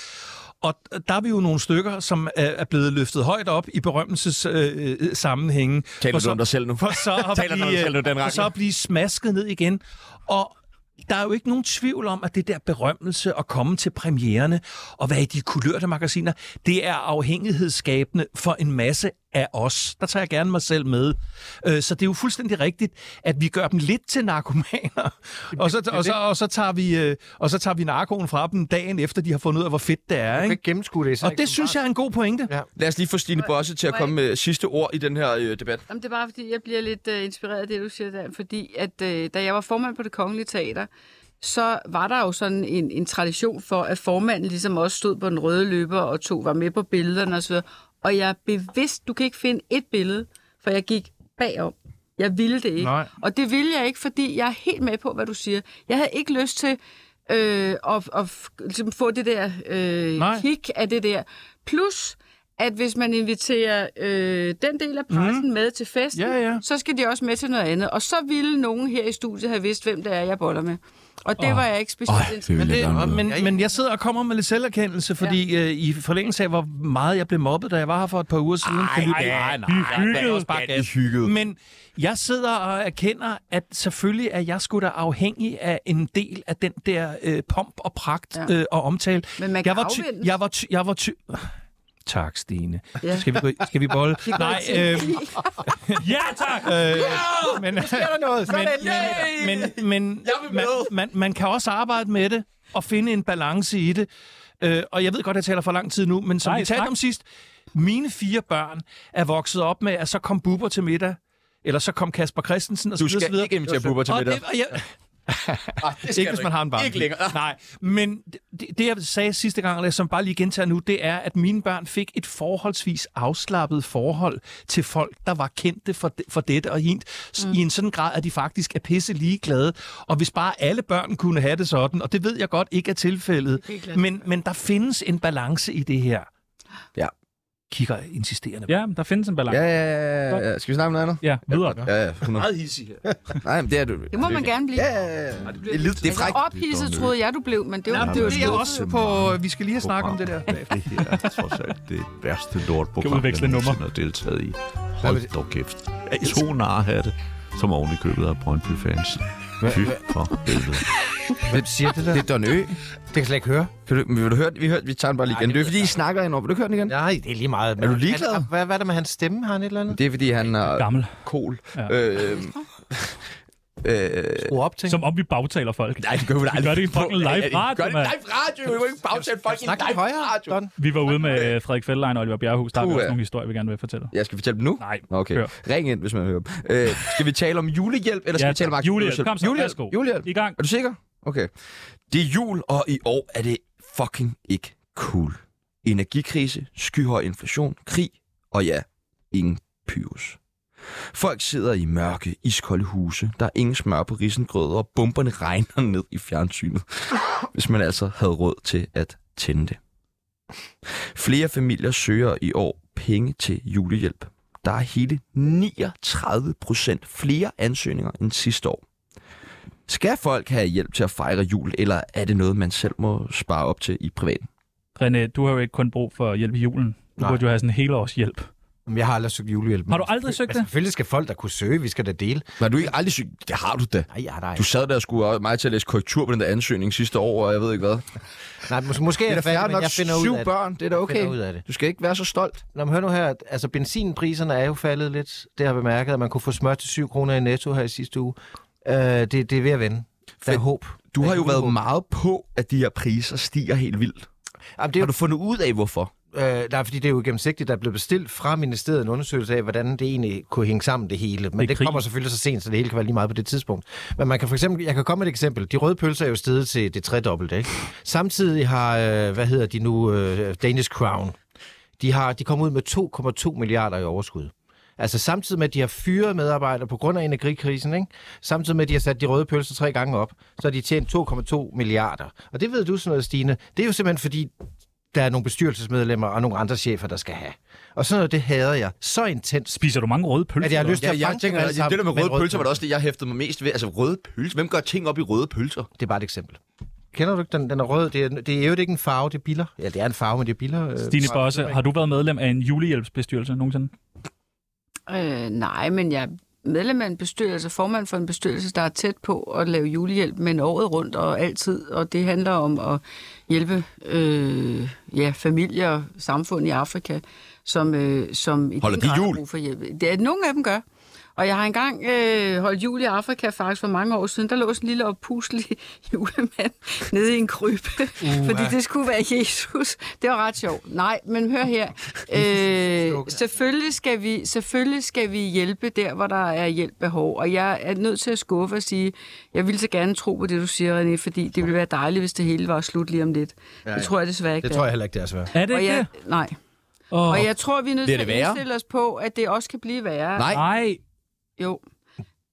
F: Og der er vi jo nogle stykker, som er er blevet løftet højt op i berømmelses øh, øh, sammenhænge.
D: Taler
F: For
D: du om dig selv nu?
F: For så at
D: Taler du om dig selv nu,
F: blive,
D: Dan
F: øh, for så
D: Rachlin?
F: at blive smasket ned igen. Og der er jo ikke nogen tvivl om, at det der berømmelse at komme til premiererne og være i de kulørte magasiner, det er afhængighedsskabende for en masse af os. Der tager jeg gerne mig selv med. Øh, Så det er jo fuldstændig rigtigt, at vi gør dem lidt til narkomaner, og så, og så, og så, tager, vi, øh, og så tager vi narkoen fra dem dagen efter, de har fundet ud af, hvor fedt det er.
A: Jeg kan
F: Ikke?
A: ikke gennemskue det. især
F: Og
A: ikke
F: det
A: som
F: synes jeg er en god pointe.
A: Ja.
D: Lad os lige få Stine Bosse til at
B: Må jeg-
D: komme med sidste ord i den her øh, debat.
B: Jamen, det er bare, fordi jeg bliver lidt øh, inspireret af det, du siger, Dan, fordi at, øh, da jeg var formand på det Kongelige Teater, så var der jo sådan en, en tradition for, at formanden ligesom også stod på den røde løber og tog var med på billederne osv. Og jeg er bevidst, du kan ikke finde et billede, for jeg gik bagom. Jeg ville det ikke.
F: Nej.
B: Og det ville jeg ikke, fordi jeg er helt med på, hvad du siger. Jeg havde ikke lyst til øh, at, at f- ligesom få det der øh,
F: Nej.
B: kick af det der. Plus, at hvis man inviterer øh, den del af pressen mm. med til festen,
F: Ja, Mhm. ja.
B: så skal de også med til noget andet. Og så ville nogen her i studiet have vidst, hvem det er, jeg boller med. Og det oh. var jeg ikke specielt oh,
F: Men, det, og,
D: men,
F: men, men jeg sidder og kommer med lidt selverkendelse, fordi øh, i forlængelse af, hvor meget jeg blev mobbet, da jeg var her for et par uger siden. Ej, nej, nej, nej, det er også bare gas. Men jeg sidder og erkender, at selvfølgelig er jeg sgu da afhængig af en del af den der øh, pomp og pragt
B: Ja.
F: øh, og omtale.
B: Men man kan
F: jeg var ty-
B: afvente.
F: Jeg var ty- jeg var ty- Tak, Stine.
B: Ja.
F: Skal vi, gå i- skal vi bolle? Nej, øh,
E: Ja, tak!
F: Øh, men, men,
A: noget.
F: men, men, men man, man, man kan også arbejde med det. at finde en balance i det. Øh, og jeg ved godt, at jeg taler for lang tid nu, men som
E: Nej,
F: Nej, vi talte
E: tak.
F: om sidst, mine fire børn er vokset op med, at så kom Bubber til middag, eller så kom Kasper Christensen og så
D: Du
F: videre, så
D: skal
F: videre.
D: ikke invitere Bubber til
F: Og
D: middag.
F: det- og jeg,
D: Ah, det
F: ikke hvis man har en barn.
D: Ikke længere.
F: Nej, men det, det, jeg sagde sidste gang, eller som bare lige gentager nu, det er, at mine børn fik et forholdsvis afslappet forhold til folk, der var kendte for, de, for dette og hint, mm. i en sådan grad, at de faktisk er pisse ligeglade. Og hvis bare alle børn kunne have det sådan, og det ved jeg godt ikke er tilfældet,
B: Helt klart.
F: men, men der findes en balance i det her.
D: Ja.
F: Kigger insisterende.
E: Ja, men der findes en balance.
D: Ja,
E: Ja,
D: ja, ja, ja, ja. Skal vi snakke om noget andet?
E: ja videre.
D: Ja, ja. 100.
F: Meget hissig her.
D: Nej, men det er du.
B: Det må man gerne blive.
D: Ja, ja, ja. Det er, lidt- det er frækt.
B: Altså, ophidset troede jeg, du blev, men det var, ja,
F: Ja, men
B: det var
F: det er
B: slut.
F: også på... Vi skal lige have snakket om det der.
G: Det her er trods alt det værste lortprogram,
E: Kan udveksle
G: jeg
E: nummer.
G: nogensinde har deltaget i. Hold dog kæft. To narhatte, som oven i købet af Brøndby-fans. Fy for helvede.
A: Hvem siger det der?
D: Det
A: Det,
D: er Don Ø.
A: det kan jeg slet ikke høre.
D: Kan du, men vil du høre den? Vi, hørte, vi tager den bare lige
A: Nej,
D: igen.
A: det
D: Det er
A: ved
D: fordi, I snakker ind over. Vil du høre den igen?
A: Nej, det er lige meget.
D: Er du ligeglad?
A: Han, hvad, hvad er der med hans stemme? Har han et eller andet?
D: Det er fordi, han er
E: Gammel.
D: kol.
E: Ja.
D: Øh, øh,
A: Skru op, tænker
E: Som om vi bagtaler folk.
D: nej, det gør vi da
E: Vi
D: aldrig.
E: gør det i fucking
D: Ja,
E: live
D: ja, vi
E: radio,
D: Gør det i
E: mand.
D: live radio. Vi må ikke bagtale folk i
A: Snak lidt
D: live
A: højere,
D: radio.
A: Don.
E: Vi var ude med øh, Frederik Feldlein og Oliver Bjerghus. Der har vi
D: Puha.
E: også nogle historier, vi gerne vil fortælle.
D: Jeg skal fortælle dem nu?
E: Nej,
D: Nå, Okay.
E: kør.
D: Ring ind, hvis man hører dem. Øh, skal vi tale om julehjælp, eller skal
E: Ja,
D: vi tale om
E: tak. Julehjælp. Kom så,
D: julehjælp.
E: værsgo.
D: julehjælp.
E: I gang.
D: Er du sikker? Okay. Det er jul, og i år er det fucking ikke cool. Energikrise, skyhøj inflation, krig, og ja, ingen pyrus. Folk sidder i mørke, iskolde huse, der er ingen smør på risengrød, og bomberne regner ned i fjernsynet, hvis man altså havde råd til at tænde det. Flere familier søger i år penge til julehjælp. Der er hele 39 procent flere ansøgninger end sidste år. Skal folk have hjælp til at fejre jul, eller er det noget, man selv må spare op til i privaten?
E: René, du har jo ikke kun brug for hjælp i julen. Du
A: Nej.
E: burde jo have sådan en helårshjælp.
A: jeg. Jeg har aldrig søgt julehjælp.
E: Har du aldrig søgt
A: Altså,
E: det?
A: selvfølgelig skal folk, der kunne søge, vi skal da dele.
D: Var du ikke aldrig syg? Det har du da.
A: Nej, ja, nej.
D: Du sad der og skulle også mig til at læse korrektur på den der ansøgning sidste år, og jeg ved ikke hvad.
A: nej mås- måske er
D: Det er
A: det
D: fair
A: færdigt, men
D: nok
A: jeg finder
D: syv
A: ud af det.
D: børn, det er da
A: Jeg finder ud
D: okay.
A: af det.
D: Du skal ikke være så stolt.
A: Nå, men hør nu her, at- altså benzinpriserne er jo faldet lidt. Det har jeg bemærket, at man kunne få smør til 7 kroner i netto her i sidste uge. Øh, det, det er ved at vende. Der er
D: Fedt.
A: håb.
D: Du
A: Der er
D: har jo været
A: julehåb.
D: meget på, at de her priser stiger helt vildt.
A: Jamen, det er
D: Har du fundet ud af, hvorfor?
A: Øh, nej, fordi det er jo gennemsigtigt, der er blevet bestilt fra ministeriet en undersøgelse af, hvordan det egentlig kunne hænge sammen det hele. Men
E: er
A: det, det
E: krig.
A: kommer selvfølgelig så sent, så det hele kan være lige meget på det tidspunkt. Men man kan for eksempel, jeg kan komme med et eksempel. De røde pølser er jo steget til det tredobbelte. Ikke? Samtidig har, øh, hvad hedder de nu, øh, Danish Crown, de, har, de kom ud med 2,2 milliarder i overskud. Altså samtidig med, at de har fyret medarbejdere på grund af energikrisen, ikke? samtidig med, at de har sat de røde pølser tre gange op, så har de tjent 2,2 milliarder. Og det ved du sådan noget, Stine. Det er jo simpelthen fordi, der er nogle bestyrelsesmedlemmer og nogle andre chefer, der skal have. Og sådan noget, det hader jeg så intens,
E: Spiser du mange røde pølser?
A: at jeg har lyst til at banke dem alle sammen en rød pølse.
D: også det, jeg hæftede mig mest ved. Altså røde pølser. Hvem gør ting op i røde pølser?
A: Det er bare et eksempel. Kender du ikke den? Den er rød. Det er, det er jo ikke en farve, det er biller. Ja, det er en farve, men det er biller. øh,
E: Stine Bosse, har du været medlem af en julehjælpsbestyrelse nogensinde?
B: Øh, nej, men jeg er medlem af en bestyrelse, formand for en bestyrelse, der er tæt på at lave julehjælp, men året rundt og altid, og det handler om at hjælpe øh, ja, familier og samfund i Afrika, som, øh, som i
D: Holder
B: den
D: de
B: grad har
D: jul?
B: brug for hjælp. Det er, nogle af dem gør. Og jeg har engang øh, holdt jul i Afrika faktisk for mange år siden. Der lå sådan en lille oppuslig julemand nede i en krybe, uh, fordi det skulle være Jesus. Det var ret sjovt. Nej, men hør her. Øh, selvfølgelig, skal vi, selvfølgelig skal vi hjælpe der, hvor der er hjælp behov. Og jeg er nødt til at skuffe og sige, jeg vil så gerne tro på det, du siger, René, fordi det ville være dejligt, hvis det hele var slut lige om lidt. Det tror jeg desværre ikke,
A: Det tror jeg heller ikke, det er svært.
E: Er det
B: og
E: ikke
B: jeg,
E: det?
B: Nej.
E: Åh,
B: Og jeg tror, vi er nødt
D: Bliver
B: til at
D: det værre?
B: indstille os på, at det også kan blive værre.
D: Nej.
E: Nej,
B: Jo.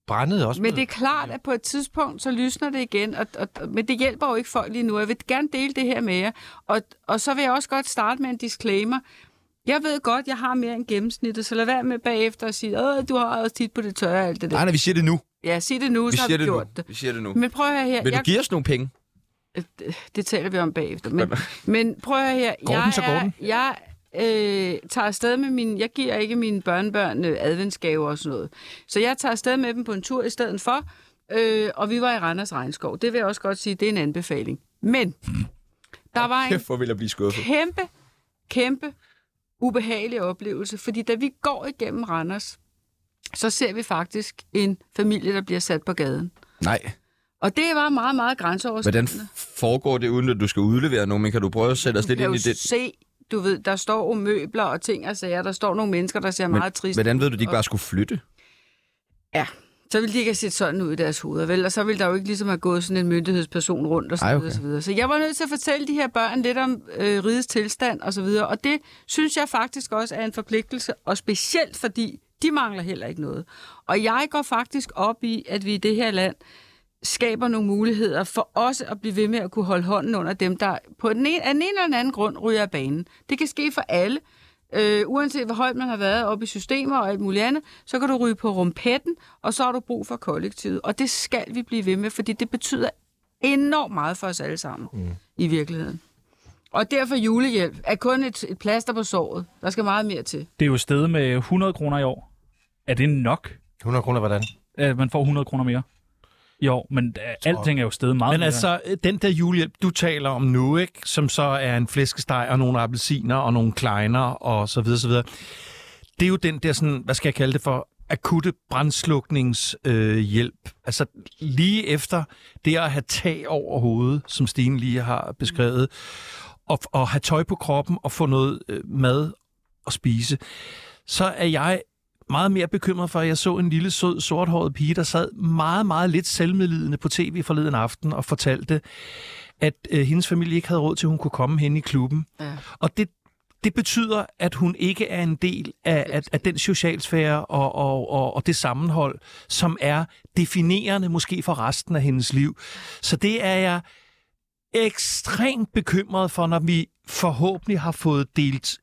A: Brændet er også.
B: Men det er klart, at på et tidspunkt, så lysner det igen, og, og, og- men det hjælper jo ikke folk lige nu. Jeg vil gerne dele det her med jer, og, og så vil jeg også godt starte med en disclaimer. Jeg ved godt, jeg har mere end gennemsnittet, så lad være med bagefter at sige, Åh, du har også tit på det tørre og alt det der.
D: Nej, nej, vi siger det nu.
B: Ja, sig det nu,
D: Vi
B: så har
D: siger
B: vi
D: det nu.
B: gjort det.
D: Vi siger det nu.
B: Men prøv at høre her.
D: Vil du
B: jeg,
D: give os nogle penge?
B: øh, det taler vi om bagefter. Men, men prøv at høre her.
F: Går den,
B: jeg
F: så går den.
B: Er, jeg øh, tager afsted med mine... Jeg giver ikke mine børnebørn øh, adventsgaver og sådan noget. Så jeg tager afsted med dem på en tur i stedet for. Øh, og vi var i Randers Regnskov. Det vil jeg også godt sige, det er en anbefaling. Men der var en
D: Kæft, hvor vil jeg blive skuffet.
B: kæmpe, kæmpe ubehagelig oplevelse, fordi da vi går igennem Randers, så ser vi faktisk en familie, der bliver sat på gaden.
D: Nej.
B: Og det var meget, meget grænseoverskridende.
D: Hvordan foregår det, uden at du skal udlevere nogen? Men kan du prøve at sætte os lidt
B: kan
D: ind
B: jo
D: i det?
B: se, du ved, der står jo møbler og ting og sager. Der står nogle mennesker, der ser
D: Men
B: meget trist
D: Hvordan ved du, at de ikke bare skulle flytte?
B: Ja, så ville de ikke have set sådan ud i deres hoveder, vel? Og så ville der jo ikke ligesom have gået sådan en myndighedsperson rundt og så,
D: Ej,
B: Ej,
D: okay.
B: okay. og så videre. Så jeg var nødt til at fortælle de her børn lidt om øh, rigets tilstand og så videre. Og det synes jeg faktisk også er en forpligtelse, og specielt fordi de mangler heller ikke noget. Og jeg går faktisk op i, at vi i det her land skaber nogle muligheder for os at blive ved med at kunne holde hånden under dem, der på den ene, af den ene eller den anden grund ryger af banen. Det kan ske for alle. Øh, uanset hvor højt man har været oppe i systemer og alt muligt andet, så kan du ryge på rumpetten, og så har du brug for kollektivet. Og det skal vi blive ved med, fordi det betyder enormt meget for os alle sammen mm. i virkeligheden. Og derfor julehjælp er kun et, et plaster på såret. Der skal meget mere til.
E: Det er jo stedet med 100 kroner i år. Er det nok,
A: 100 kroner, hvordan?
E: at man får 100 kroner mere? Jo, men øh, alting er jo stedet meget
F: Men
E: mere.
F: altså, den der julehjælp, du taler om nu, ikke, som så er en flæskesteg og nogle appelsiner og nogle kleiner og så videre, så videre. Det er jo den der, sådan, hvad skal jeg kalde det for, akutte brandslukningshjælp. Øh, hjælp. altså lige efter det at have tag over hovedet, som Stine lige har beskrevet, og, og have tøj på kroppen og få noget øh, mad at spise, så er jeg meget mere bekymret for, at jeg så en lille sød, sorthåret pige, der sad meget, meget lidt selvmedlidende på tv forleden aften og fortalte, at øh, hendes familie ikke havde råd til, at hun kunne komme hen i klubben.
B: Ja.
F: Og det, det betyder, at hun ikke er en del af, af, af den socialsfære og, og, og, og det sammenhold, som er definerende måske for resten af hendes liv. Så det er jeg ekstremt bekymret for, når vi forhåbentlig har fået delt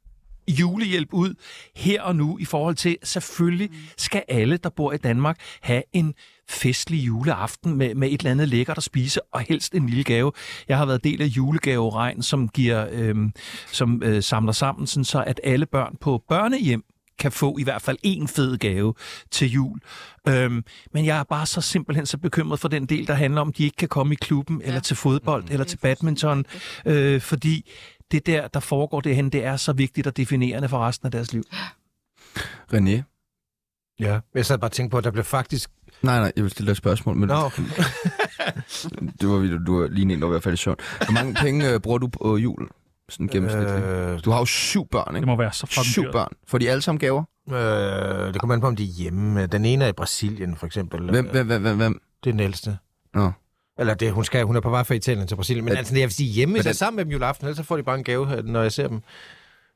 F: julehjælp ud her og nu i forhold til, selvfølgelig skal alle, der bor i Danmark, have en festlig juleaften med, med et eller andet lækkert at spise, og helst en lille gave. Jeg har været del af julegaveregn, som, giver, øhm, som øh, samler sammen, sådan så at alle børn på børnehjem kan få i hvert fald en fed gave til jul. Øhm, men jeg er bare så simpelthen så bekymret for den del, der handler om, at de ikke kan komme i klubben, eller til fodbold, eller til badminton, øh, fordi det der, der foregår derhen, det er så vigtigt og definerende for resten af deres liv.
D: René?
A: Ja. Jeg sad bare og tænkte på, at der blev faktisk...
D: Nej, nej, jeg vil stille dig et spørgsmål, men
A: Nå,
D: du var, du, du var lige en, der var ved at falde i søvn. Hvor mange penge øh, bruger du på øh, jul? Sådan gennemsnitligt.
A: øh,
D: Du har jo syv børn,
E: det
D: ikke?
E: må være så fucking
D: Syv
E: dyrt.
D: børn. Får de alle sammen gaver?
A: øh, det kommer an på, om de er hjemme. Den ene er i Brasilien, for eksempel.
D: Hvem, hvem, hvem, hvem? hvem?
A: Det er den ældste.
D: Nå.
A: Eller det, hun, skal, hun er på vej fra Italien til Brasilien. Men
D: Men-
A: altså, jeg vil sige hjemme, hvis
D: Hvordan-
A: jeg er sammen med dem juleaften, ellers så får de bare en gave, når jeg ser dem.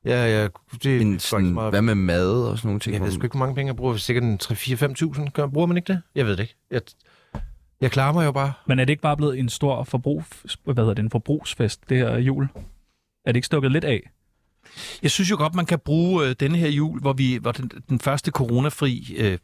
A: Ja, ja, det
D: En,
A: går ikke så
D: sådan,
A: meget.
D: hvad med mad og sådan nogle ting?
A: Jeg
D: Hvor-
A: ved sgu ikke, hvor mange penge jeg bruger. Sikkert en 3-4-5.000. Gør- Bruger man ikke det? Jeg ved det ikke. Jeg, jeg klarer mig jo bare.
E: Men er det ikke bare blevet en stor forbrug, hvad hedder det, en forbrugsfest, det her jul? Er det ikke stukket lidt af?
F: Jeg synes jo godt, man kan bruge øh, denne her jul, hvor vi var den, den første coronafri, øh,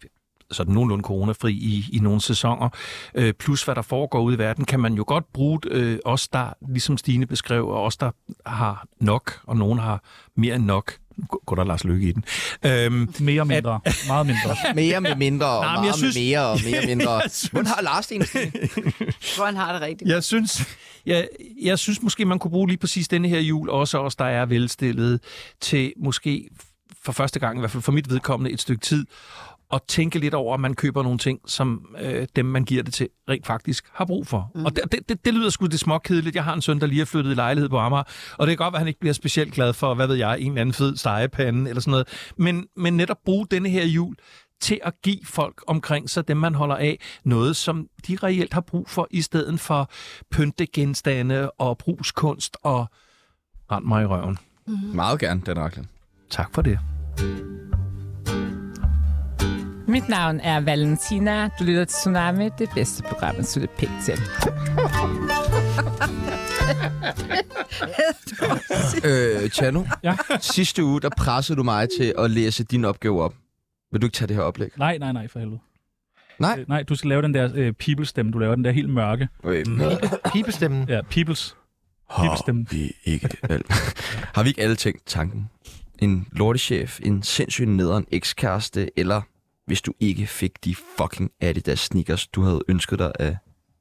F: sådan nogenlunde coronafri i, i nogle sæsoner, øh, plus hvad der foregår ude i verden, kan man jo godt bruge øh, os, der, ligesom Stine beskrev, og os, der har nok, og nogen har mere end nok. Gå- Går der Lars Lykke i den? Øhm,
E: Mere og mindre. Meget mindre.
D: Mere med mindre, og
F: Nej, men
D: meget
F: jeg
D: med
F: synes-
D: mere, og mere mindre.
F: Jeg synes-
D: Hvordan har Lars det egentlig?
B: Jeg tror, han har det rigtigt.
F: Jeg synes, jeg, jeg synes måske, man kunne bruge lige præcis denne her jul, også os, der er velstillede, til måske for første gang, i hvert fald for mit vedkommende, et stykke tid, og tænke lidt over, at man køber nogle ting, som øh, dem, man giver det til, rent faktisk har brug for. Mm. Og det, det- det, det lyder sgu det småkedeligt. Jeg har en søn, der lige er flyttet i lejlighed på Amager, og det kan godt være, at han ikke bliver specielt glad for, hvad ved jeg, en eller anden fed stegepande eller sådan noget. Men, men netop bruge denne her jul til at give folk omkring sig, dem man holder af, noget, som de reelt har brug for, i stedet for pyntegenstande og brugskunst og rend mig i røven.
D: Meget gerne, Dan Raklen.
F: Tak for det.
H: Mit navn er Valentina. Du lytter til Tsunami, det bedste program, at slutte pænt til.
D: Øh, Chano,
E: Ja.
D: sidste uge, der pressede du mig til at læse din opgave op. Vil du ikke tage det her oplæg?
E: Nej, nej, nej, for helvede.
D: Nej.
E: Øh, Nej, du skal lave den der øh, people-stemme. Du laver den der helt mørke.
D: Okay.
A: Pibestemmen.
E: Ja, peoples. Pibestemme.
D: Har vi ikke alt? Har vi ikke alle tænkt tanken? En lortechef, en sindssyg nederen ekskæreste, eller hvis du ikke fik de fucking Adidas sneakers, du havde ønsket dig af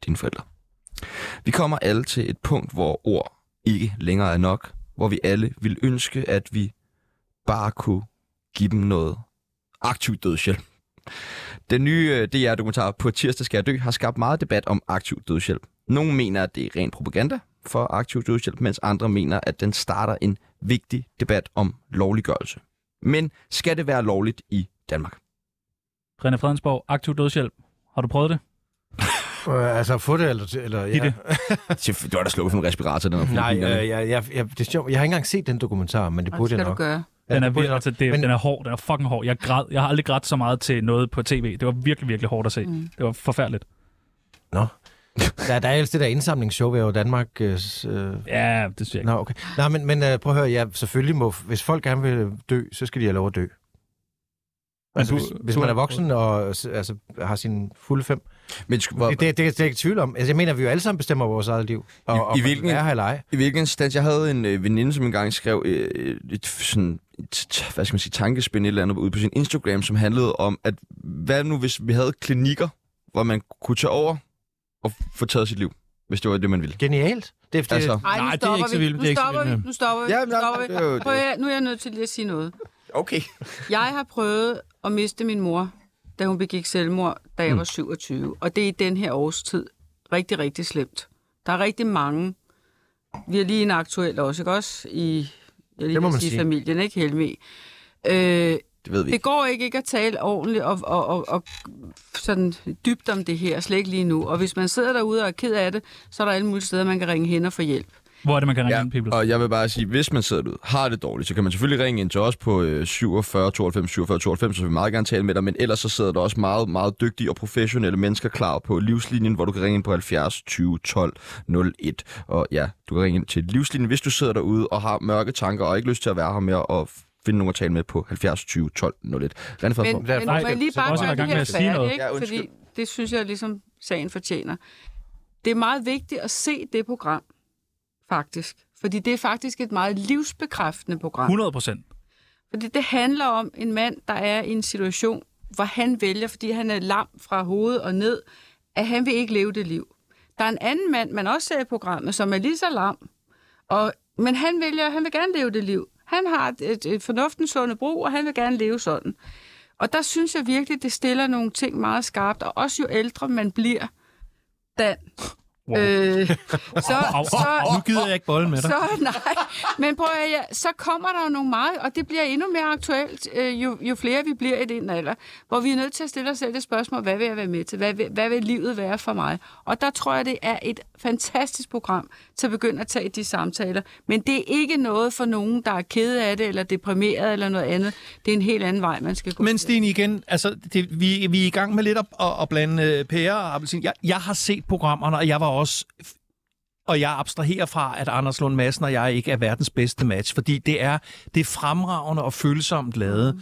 D: dine forældre. Vi kommer alle til et punkt, hvor ord ikke længere er nok, hvor vi alle vil ønske, at vi bare kunne give dem noget aktiv dødshjælp. Den nye øh, DR-dokumentar På tirsdag skal jeg dø har skabt meget debat om aktiv dødshjælp. Nogle mener, at det er ren propaganda for aktiv dødshjælp, mens andre mener, at den starter en vigtig debat om lovliggørelse. Men skal det være lovligt i Danmark?
E: René Fredensborg, aktiv dødshjælp. Har du prøvet det?
A: Øh, altså, få det eller... eller ja.
E: Giv det.
D: Selvfø- Du har da slukket for en respirator, den er
A: Nej, øh, jeg, jeg, jeg, det er sjovt. Jeg har ikke engang set den dokumentar, men det
B: Og det
A: burde
B: skal
A: jeg
B: du
A: nok.
B: gøre.
A: Ja,
E: Den er,
A: det burde jeg
E: virkelig,
A: nok.
E: altså, det,
A: Men-
E: den er hård, den er fucking hård. Jeg græd. Jeg har aldrig grædt så meget til noget på tv. Det var virkelig, virkelig hårdt at se. Mm. Det var forfærdeligt.
A: Der, der er ellers det der indsamlingsshow ved Danmark. Øh, s- øh,
E: Ja, det synes jeg ikke.
A: Nå, okay. Nå, men, men øh, prøv at høre, ja, selvfølgelig må, hvis folk gerne vil dø, så skal de have lov at dø. Altså,
F: du-
A: hvis, hvis
F: du
A: man
F: er-
A: er voksen og s- altså, har sin fulde fem.
D: Men sk- hvor,
A: øh, Det, det, det, det er jeg ikke i tvivl om. Altså, jeg mener, at vi jo alle sammen bestemmer vores eget liv. Og,
D: I
A: og
D: hvilken-
A: Er her eller ej.
D: I hvilken stand? Jeg havde en øh, veninde, som engang skrev øh, et, sådan, et, t- hvad skal man sige, tankespind et eller andet ud på sin Instagram, som handlede om, at hvad nu, hvis vi havde klinikker, hvor man kunne tage over og få taget sit liv, hvis det var det, man ville.
A: Genialt. Det, det,
D: Altså,
B: Ej, nu
F: Nej, det er
B: stopper
F: ikke så
B: vi.
F: vildt.
B: Nu
F: Det er ikke så
B: stopper vi.
F: vildt.
B: Nu stopper vi.
D: Ja,
B: nu
D: men nej,
B: stopper vi.
D: det er jo- det er
B: Prøv at, høre, nu er jeg nødt til lige at sige noget.
D: okay.
B: Jeg har prøvet at miste min mor, da hun begik selvmord, da
F: Mm.
B: jeg var 27. Og det er i den her årstid rigtig, rigtig slemt. Der er rigtig mange. Vi er lige en aktuel også, ikke også? I, jeg lige
A: Det må
B: vil
A: man
B: sige,
A: sige.
B: familien, ikke Helmi? Øh,
D: Det ved vi
B: det
D: ikke.
B: går ikke, ikke at tale ordentligt og, og, og, og sådan dybt om det her, slet ikke lige nu. Og hvis man sidder derude og er ked af det, så er der alle mulige steder, man kan ringe hen og få hjælp.
E: Hvor er det, man kan ringe
D: Ja,
E: ind, people?
D: og jeg vil bare sige, hvis man sidder ud, har det dårligt, så kan man selvfølgelig ringe ind til os på øh, 47 92 47 92, så vil vi meget gerne tale med dig, men ellers så sidder der også meget, meget dygtige og professionelle mennesker klar på livslinjen, hvor du kan ringe ind på 70 20 12 01. Og ja, du kan ringe ind til livslinjen, hvis du sidder derude og har mørke tanker og ikke lyst til at være her mere og finde nogen at tale med på 70 20 12 01. Rene
B: Men,
D: Fredensborg.
B: men må
A: Nej,
B: jeg lige
E: så
B: bare
E: også er
B: gøre
E: i
B: det
E: gang med
B: her
E: at sige noget.
B: færdigt, ikke?
D: Ja, undskyld.
B: fordi det synes jeg ligesom sagen fortjener. Det er meget vigtigt at se det program, faktisk. Fordi det er faktisk et meget livsbekræftende program.
E: 100 procent.
B: Fordi det handler om en mand, der er i en situation, hvor han vælger, fordi han er lam fra hovedet og ned, at han vil ikke leve det liv. Der er en anden mand, man også ser i programmet, som er lige så lam, og, men han vælger, han vil gerne leve det liv. Han har et, et, et fornuftens sunde brug, og han vil gerne leve sådan. Og der synes jeg virkelig, det stiller nogle ting meget skarpt, og også jo ældre man bliver, Dan,
E: Wow.
B: øh, så,
E: Au, au,
B: så,
F: Nu gider jeg ikke bolle med dig.
B: så nej, men prøv at, ja, så kommer der jo nogle meget, og det bliver endnu mere aktuelt, øh, jo, jo flere vi bliver i den alder, hvor vi er nødt til at stille os selv det spørgsmål, hvad vil jeg være med til? Hvad vil, hvad vil livet være for mig? Og der tror jeg, det er et fantastisk program til at begynde at tage de samtaler, men det er ikke noget for nogen, der er ked af det, eller deprimeret, eller noget andet. Det er en helt anden vej, man skal gå.
F: Men Stine, igen, altså, det, vi, vi er i gang med lidt at, at, at blande øh, pære og appelsin. Jeg, jeg har set programmerne, og jeg var også... Og jeg abstraherer fra, at Anders Lund Madsen og jeg ikke er verdens bedste match, fordi det er, det er fremragende og følsomt lavet. Mm.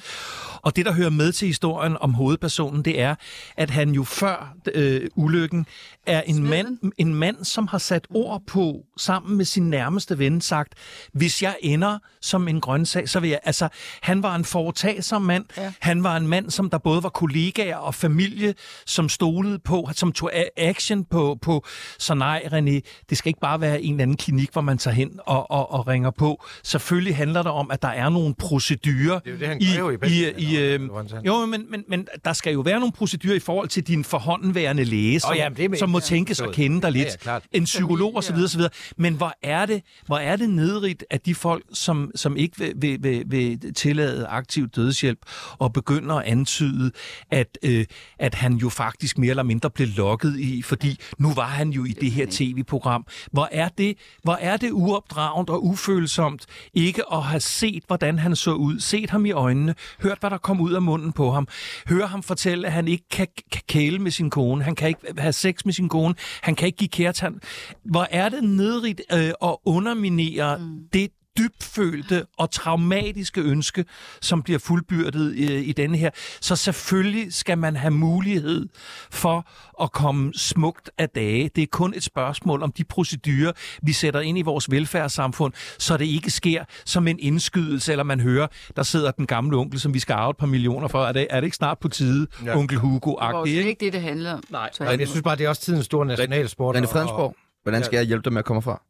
F: Og det, der hører med til historien om hovedpersonen, det er, at han jo før øh, ulykken er en mand, en mand, som har sat ord på, sammen med sin nærmeste ven, sagt, hvis jeg ender som en grøntsag, så vil jeg... Altså, han var en foretagsom mand. Ja. Han var en mand, som der både var kollegaer og familie, som stolede på, som tog a- action på, på... Så nej, René, det skal ikke bare være en eller anden klinik, hvor man tager hen og, og, og ringer på. Selvfølgelig handler det om, at der er nogle procedurer
A: Det er jo det, han
F: i,
A: kræver i
F: i,
A: Belgien,
F: i,
A: eller
F: øh,
A: hvordan han-
F: Jo, men, men, men der skal jo være nogle procedurer i forhold til din forhåndenværende læge, som,
A: Åh, jamen, det er med-
F: som må tænkes at kende dig lidt.
A: ja, klart.
F: en psykolog osv. osv. Men hvor er det, hvor er det nedrigt, at de folk, som, som ikke vil, vil, vil, vil tillade aktiv dødshjælp, og begynder at antyde, at, øh, at han jo faktisk mere eller mindre blev lokket i, fordi nu var han jo i det her tv-program. Hvor er det, hvor er det uopdragent og ufølsomt ikke at have set, hvordan han så ud, set ham i øjnene, hørt, hvad der kom ud af munden på ham, høre ham fortælle, at han ikke kan, kan kæle med sin kone, han kan ikke have sex med sin kone, han kan ikke give kærtand. Hvor er det nedrigt øh, at underminere mm. det dybfølte og traumatiske ønske, som bliver fuldbyrdet øh, i denne her. Så selvfølgelig skal man have mulighed for at komme smukt af dage. Det er kun et spørgsmål om de procedurer, vi sætter ind i vores velfærdssamfund, så det ikke sker som en indskydelse, eller man hører, der sidder den gamle onkel, som vi skal arve et par millioner for. Er det, er det ikke snart på tide, ja. onkel
B: Det var
F: Hugo-agtig?
B: jo slet
F: Ikke?
B: ikke det, det handler om. Nej,
A: Men jeg synes bare, det er også tidens store nationalsport.
D: René
A: og- og-
D: Fredensborg, hvordan skal jeg hjælpe dig med at komme fra?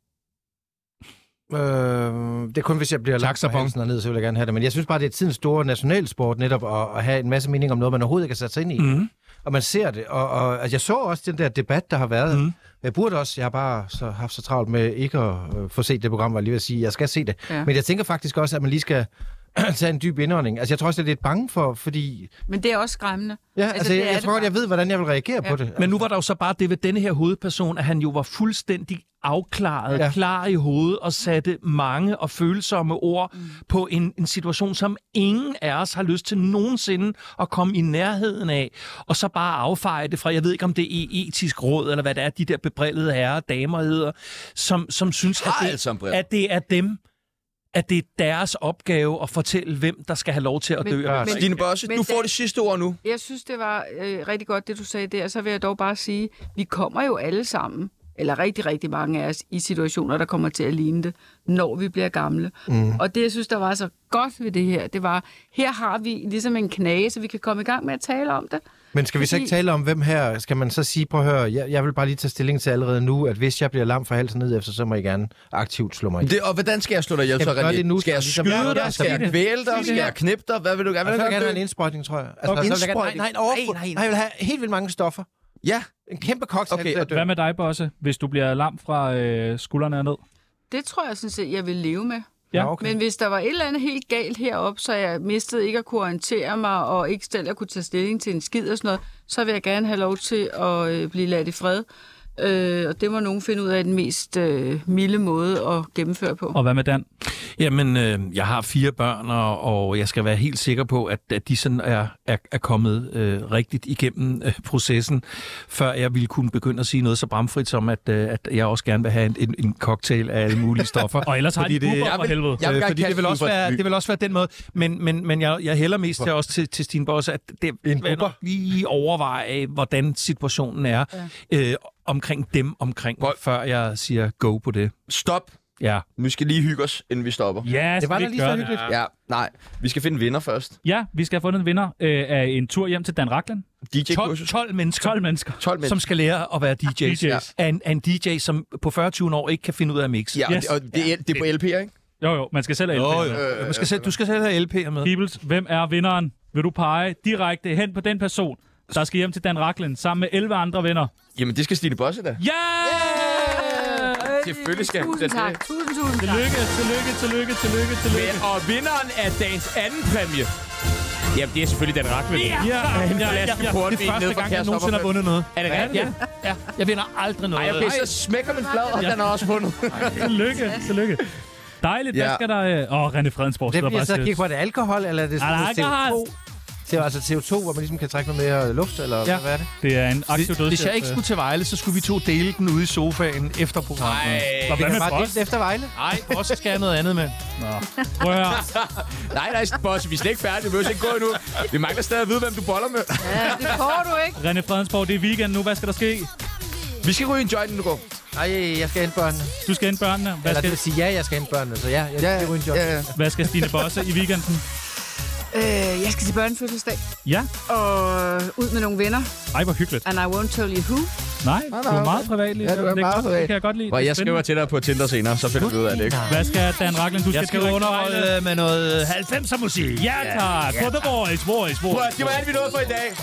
A: Øh, det er kun, hvis jeg bliver
F: Tak,
A: lagt på
F: Sabon.
A: halsen og ned, så vil jeg gerne have det. Men jeg synes bare, det er tidens store nationalsport netop at, at have en masse mening om noget, man overhovedet ikke har sat sig ind i. Mm. Og man ser det. Og, og altså, jeg så også den der debat, der har været. Mm. Jeg burde også, jeg har bare så, haft så travlt med ikke at øh, få set det program, hvor jeg lige vil sige, jeg skal se det.
B: Ja.
A: Ja. Men jeg tænker faktisk også, at man lige skal tage en dyb indånding. Altså, jeg tror også, jeg er lidt bange for, fordi...
B: Men det er også skræmmende.
A: Ja, altså, altså,
B: det
A: jeg,
B: er
A: jeg
B: det
A: tror godt,
B: bare.
A: jeg ved, hvordan jeg vil reagere ja. på det.
F: Men nu var der jo så bare det ved denne her hovedperson, at han jo var fuldstændig afklaret, ja.
A: Ja.
F: klar i hovedet og satte mange og følsomme ord mm. på en, en situation, som ingen af os har lyst til nogensinde at komme i nærheden af, og så bare affeje det fra, jeg ved ikke om det er etisk råd, eller hvad det er, de der bebrillede herrer og damer hedder, som, som synes, at
D: Har alle
F: det,
D: sammen briller.
F: altså, at det er dem, at det er deres opgave at fortælle, hvem der skal have lov til at
B: Men-
F: dø. og
A: men-
F: hvem der ikke
D: Stine Bosse,
B: Men
D: du får
B: da-
D: det sidste ord nu.
B: Jeg synes, det var øh, rigtig godt, det du sagde der. Så vil jeg dog bare sige, vi kommer jo alle sammen, eller rigtig, rigtig mange af os, i situationer, der kommer til at ligne det, når vi bliver gamle. Mm. Og det, jeg synes, der var så godt ved det her, det var, her har vi ligesom en knage, så vi kan komme i gang med at tale om det.
A: Men skal vi så
B: Fordi-
A: ikke tale om, hvem her, skal man så sige, prøv at høre, jeg, jeg vil bare lige tage stilling til allerede nu, at hvis jeg bliver lam fra halsen ned efter, så må I gerne aktivt slå mig ihjel.
D: Det, og hvordan skal jeg slå dig ihjel, så,
A: Jamen, gør
D: René?
A: det nu,
D: skal jeg
A: ligesom-
D: skyde
A: Ja,
D: dig?
A: ja,
D: Skal
A: sig
D: jeg
A: det.
D: kvæle dig?
A: det.
D: Skal jeg knippe dig? Hvad vil du gerne?
A: Jeg
D: Hvad
A: vil
D: vil
A: Altså, gerne
D: du
A: have en
D: gerne?
A: indsprøjtning, tror jeg.
D: Og
A: så vil jeg gerne-
D: indsprøjtning?
A: Nej, nej, overfor.
D: Nej,
A: Nej,
D: nej, nej.
A: nej, jeg vil have helt vildt mange stoffer.
D: Ja,
A: En kæmpe cocktail
D: Okay,
A: okay, til at dø.
E: Hvad med dig, Bosse, hvis du bliver lam fra øh, skuldrene og ned?
B: Det tror jeg sådan set, jeg vil leve med.
E: Ja.
A: Nå, okay.
B: Men hvis der var et eller andet helt galt heroppe, så jeg mistede ikke at kunne orientere mig, og ikke selv at kunne tage stilling til en skid og sådan noget, så vil jeg gerne have lov til at øh, blive ladt i fred. Øh, og det må nogen finde ud af den mest øh, milde måde at gennemføre på.
E: Og hvad med Dan?
F: Jamen, øh, jeg har fire børn, og, og jeg skal være helt sikker på, at, at de sådan er, er, er kommet øh, rigtigt igennem øh, processen, før jeg ville kunne begynde at sige noget så bramfrit som, at, øh, at jeg også gerne vil have en, en, en cocktail af alle mulige stoffer.
E: Og ellers har
F: Fordi
E: de
F: det-
E: Uber
F: jeg
E: for
F: vil-
E: helvede.
D: Jeg vil
F: Øh,
D: gerne
F: fordi det
D: kaste
F: vil,
D: den
F: også
D: ud for
F: være,
D: et fly.
F: det vil også være den måde. Men, men, men jeg, jeg hælder mest til, også til, til Stine Bosse, at det
A: En
F: vil jeg nok lige overveje, hvordan situationen er ja. øh, omkring dem omkring,
D: Prøv.
F: før jeg siger go på det.
D: stop.
F: Ja.
D: Vi skal lige hygge os, inden vi stopper.
E: Ja,
A: Det var da lige så hyggeligt.
D: Ja, nej. Vi skal finde en vinder først.
E: Ja, vi skal have fundet en vinder øh, af en tur hjem til Dan Rakland.
D: DJ-kursus.
F: 12, 12 mennesker.
E: 12 mennesker.
D: 12
F: som
D: mennesker.
F: skal lære at være DJ's.
E: DJ's.
F: DJ's. Ja. Af, en, af en DJ, som på 40-20 år ikke kan finde ud af at mixe.
D: Ja, og
E: Yes.
D: det- og det, er- det er på LP, ikke?
E: Jo, jo, man skal selv have
F: Jo,
E: oh,
F: jo. Man skal selv, du skal selv have LP'er med.
E: Peoples, hvem er vinderen? Vil du pege direkte hen på den person, der skal hjem til Dan Rakland sammen med 11 andre venner?
D: Jamen, det skal Stine Bosse da.
E: Ja! Yeah!
D: Selvfølgelig skal
B: tusind
D: da det.
B: tak. Tusind, tusind tak.
E: Tillykke, tillykke, tillykke, tillykke, tillykke.
I: Og vinderen af dagens anden præmie, jamen det er selvfølgelig Dan Racklin. Yeah.
E: Ja, ja, ja, ja.
F: Det
D: portvin
F: er
D: nede
F: første
D: fra
F: gang, jeg
D: Kærs
F: nogensinde har
D: Sommerfest.
F: vundet noget.
I: Er det rigtigt?
F: Ja, ja. Jeg vinder aldrig noget.
D: Ej, okay, så smækker man flad, og den har også fundet.
E: Tillykke, tillykke. Dejligt, hvad
D: Ja.
E: skal der... øh, Åh, René Fredensborg
A: Det
E: sidder
A: bliver
E: bare
A: så at
E: stille.
A: kigge på, er det alkohol, eller er det sådan
E: Er
A: noget
E: det alkohol?
A: CO2? Det er altså CO2, hvor man ligesom kan trække noget mere luft, eller
E: Ja.
A: ja. hvad er det?
E: Det er en aktiv dødshjælp. øh.
F: Hvis jeg ikke skulle til Vejle, så skulle vi to dele den ude i sofaen efter programmet. Nej,
E: Og hvad
A: Det er
E: med
A: bare
E: Frost?
A: delt efter Vejle.
F: Nej, også skal jeg noget andet med.
E: Prøv at høre.
I: Nej, nej, boss, vi er slet ikke færdige. Vi behøver ikke gå endnu. Vi mangler stadig at vide, hvem du boller med.
B: Ja, det får du ikke.
E: René Fredensborg, det er weekend nu. Hvad skal der ske?
D: Vi skal ryge en joint, inden du går.
A: Nej, jeg skal hente børnene.
E: Du skal hente børnene. Hvad
A: Eller
E: skal,
A: det vil sige, ja, jeg skal hente børnene, så ja, jeg ja, skal ryge en job.
D: Ja, ja.
E: hvad skal Stine Bosse i weekenden?
B: Øh, jeg skal til børnefødselsdag
E: Ja.
B: og ud med nogle venner.
E: Ej, hvor hyggeligt.
B: And I won't tell you who.
E: Nej, du er meget privat lige.
D: Ja, du er
E: Det
D: meget
E: godt-
D: privat.
E: Det kan jeg godt lide.
D: Og
E: Det er
D: jeg skriver til dig på Tinder senere, så finder vi ud af det, ikke?
E: spændende. Hvad skal Dan Racklin? Du skal,
F: Jeg skal
E: direkte til Vejle.
F: underholde med noget 90'er musik.
E: Ja, tak. For the voice, voice,
I: Prøv,
E: voice.
I: at- det var alt, vi nåede for i dag.
E: Det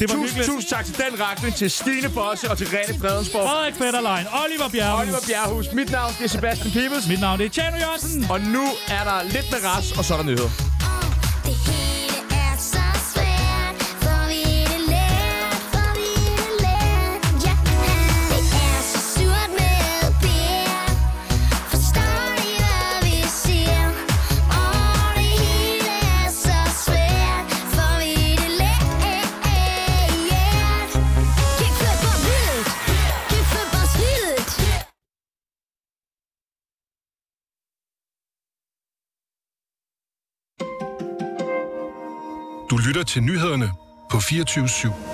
E: var
I: Tusind,
E: hyggeligt.
I: tusind tak til Dan Racklin, til Stine Bosse og til Rene Fredensborg.
E: Frederik Fetterlein, Oliver Bjerg.
I: Oliver Bjerghus. Mit navn det er Sebastian Pibels.
E: Mit navn det er Tjerno Jørgensen.
I: Og nu er der lidt med ras, og så er der nyheder.
J: Det hele er så svært, for vi er det let, for vi er det let, ja. Det er så surt med bær, forstår I, hvad vi siger? Åh, det hele er så svært, for vi er det let, Gib für Baswild, gib für Baswild.
K: Du lytter til nyhederne på 24 /7.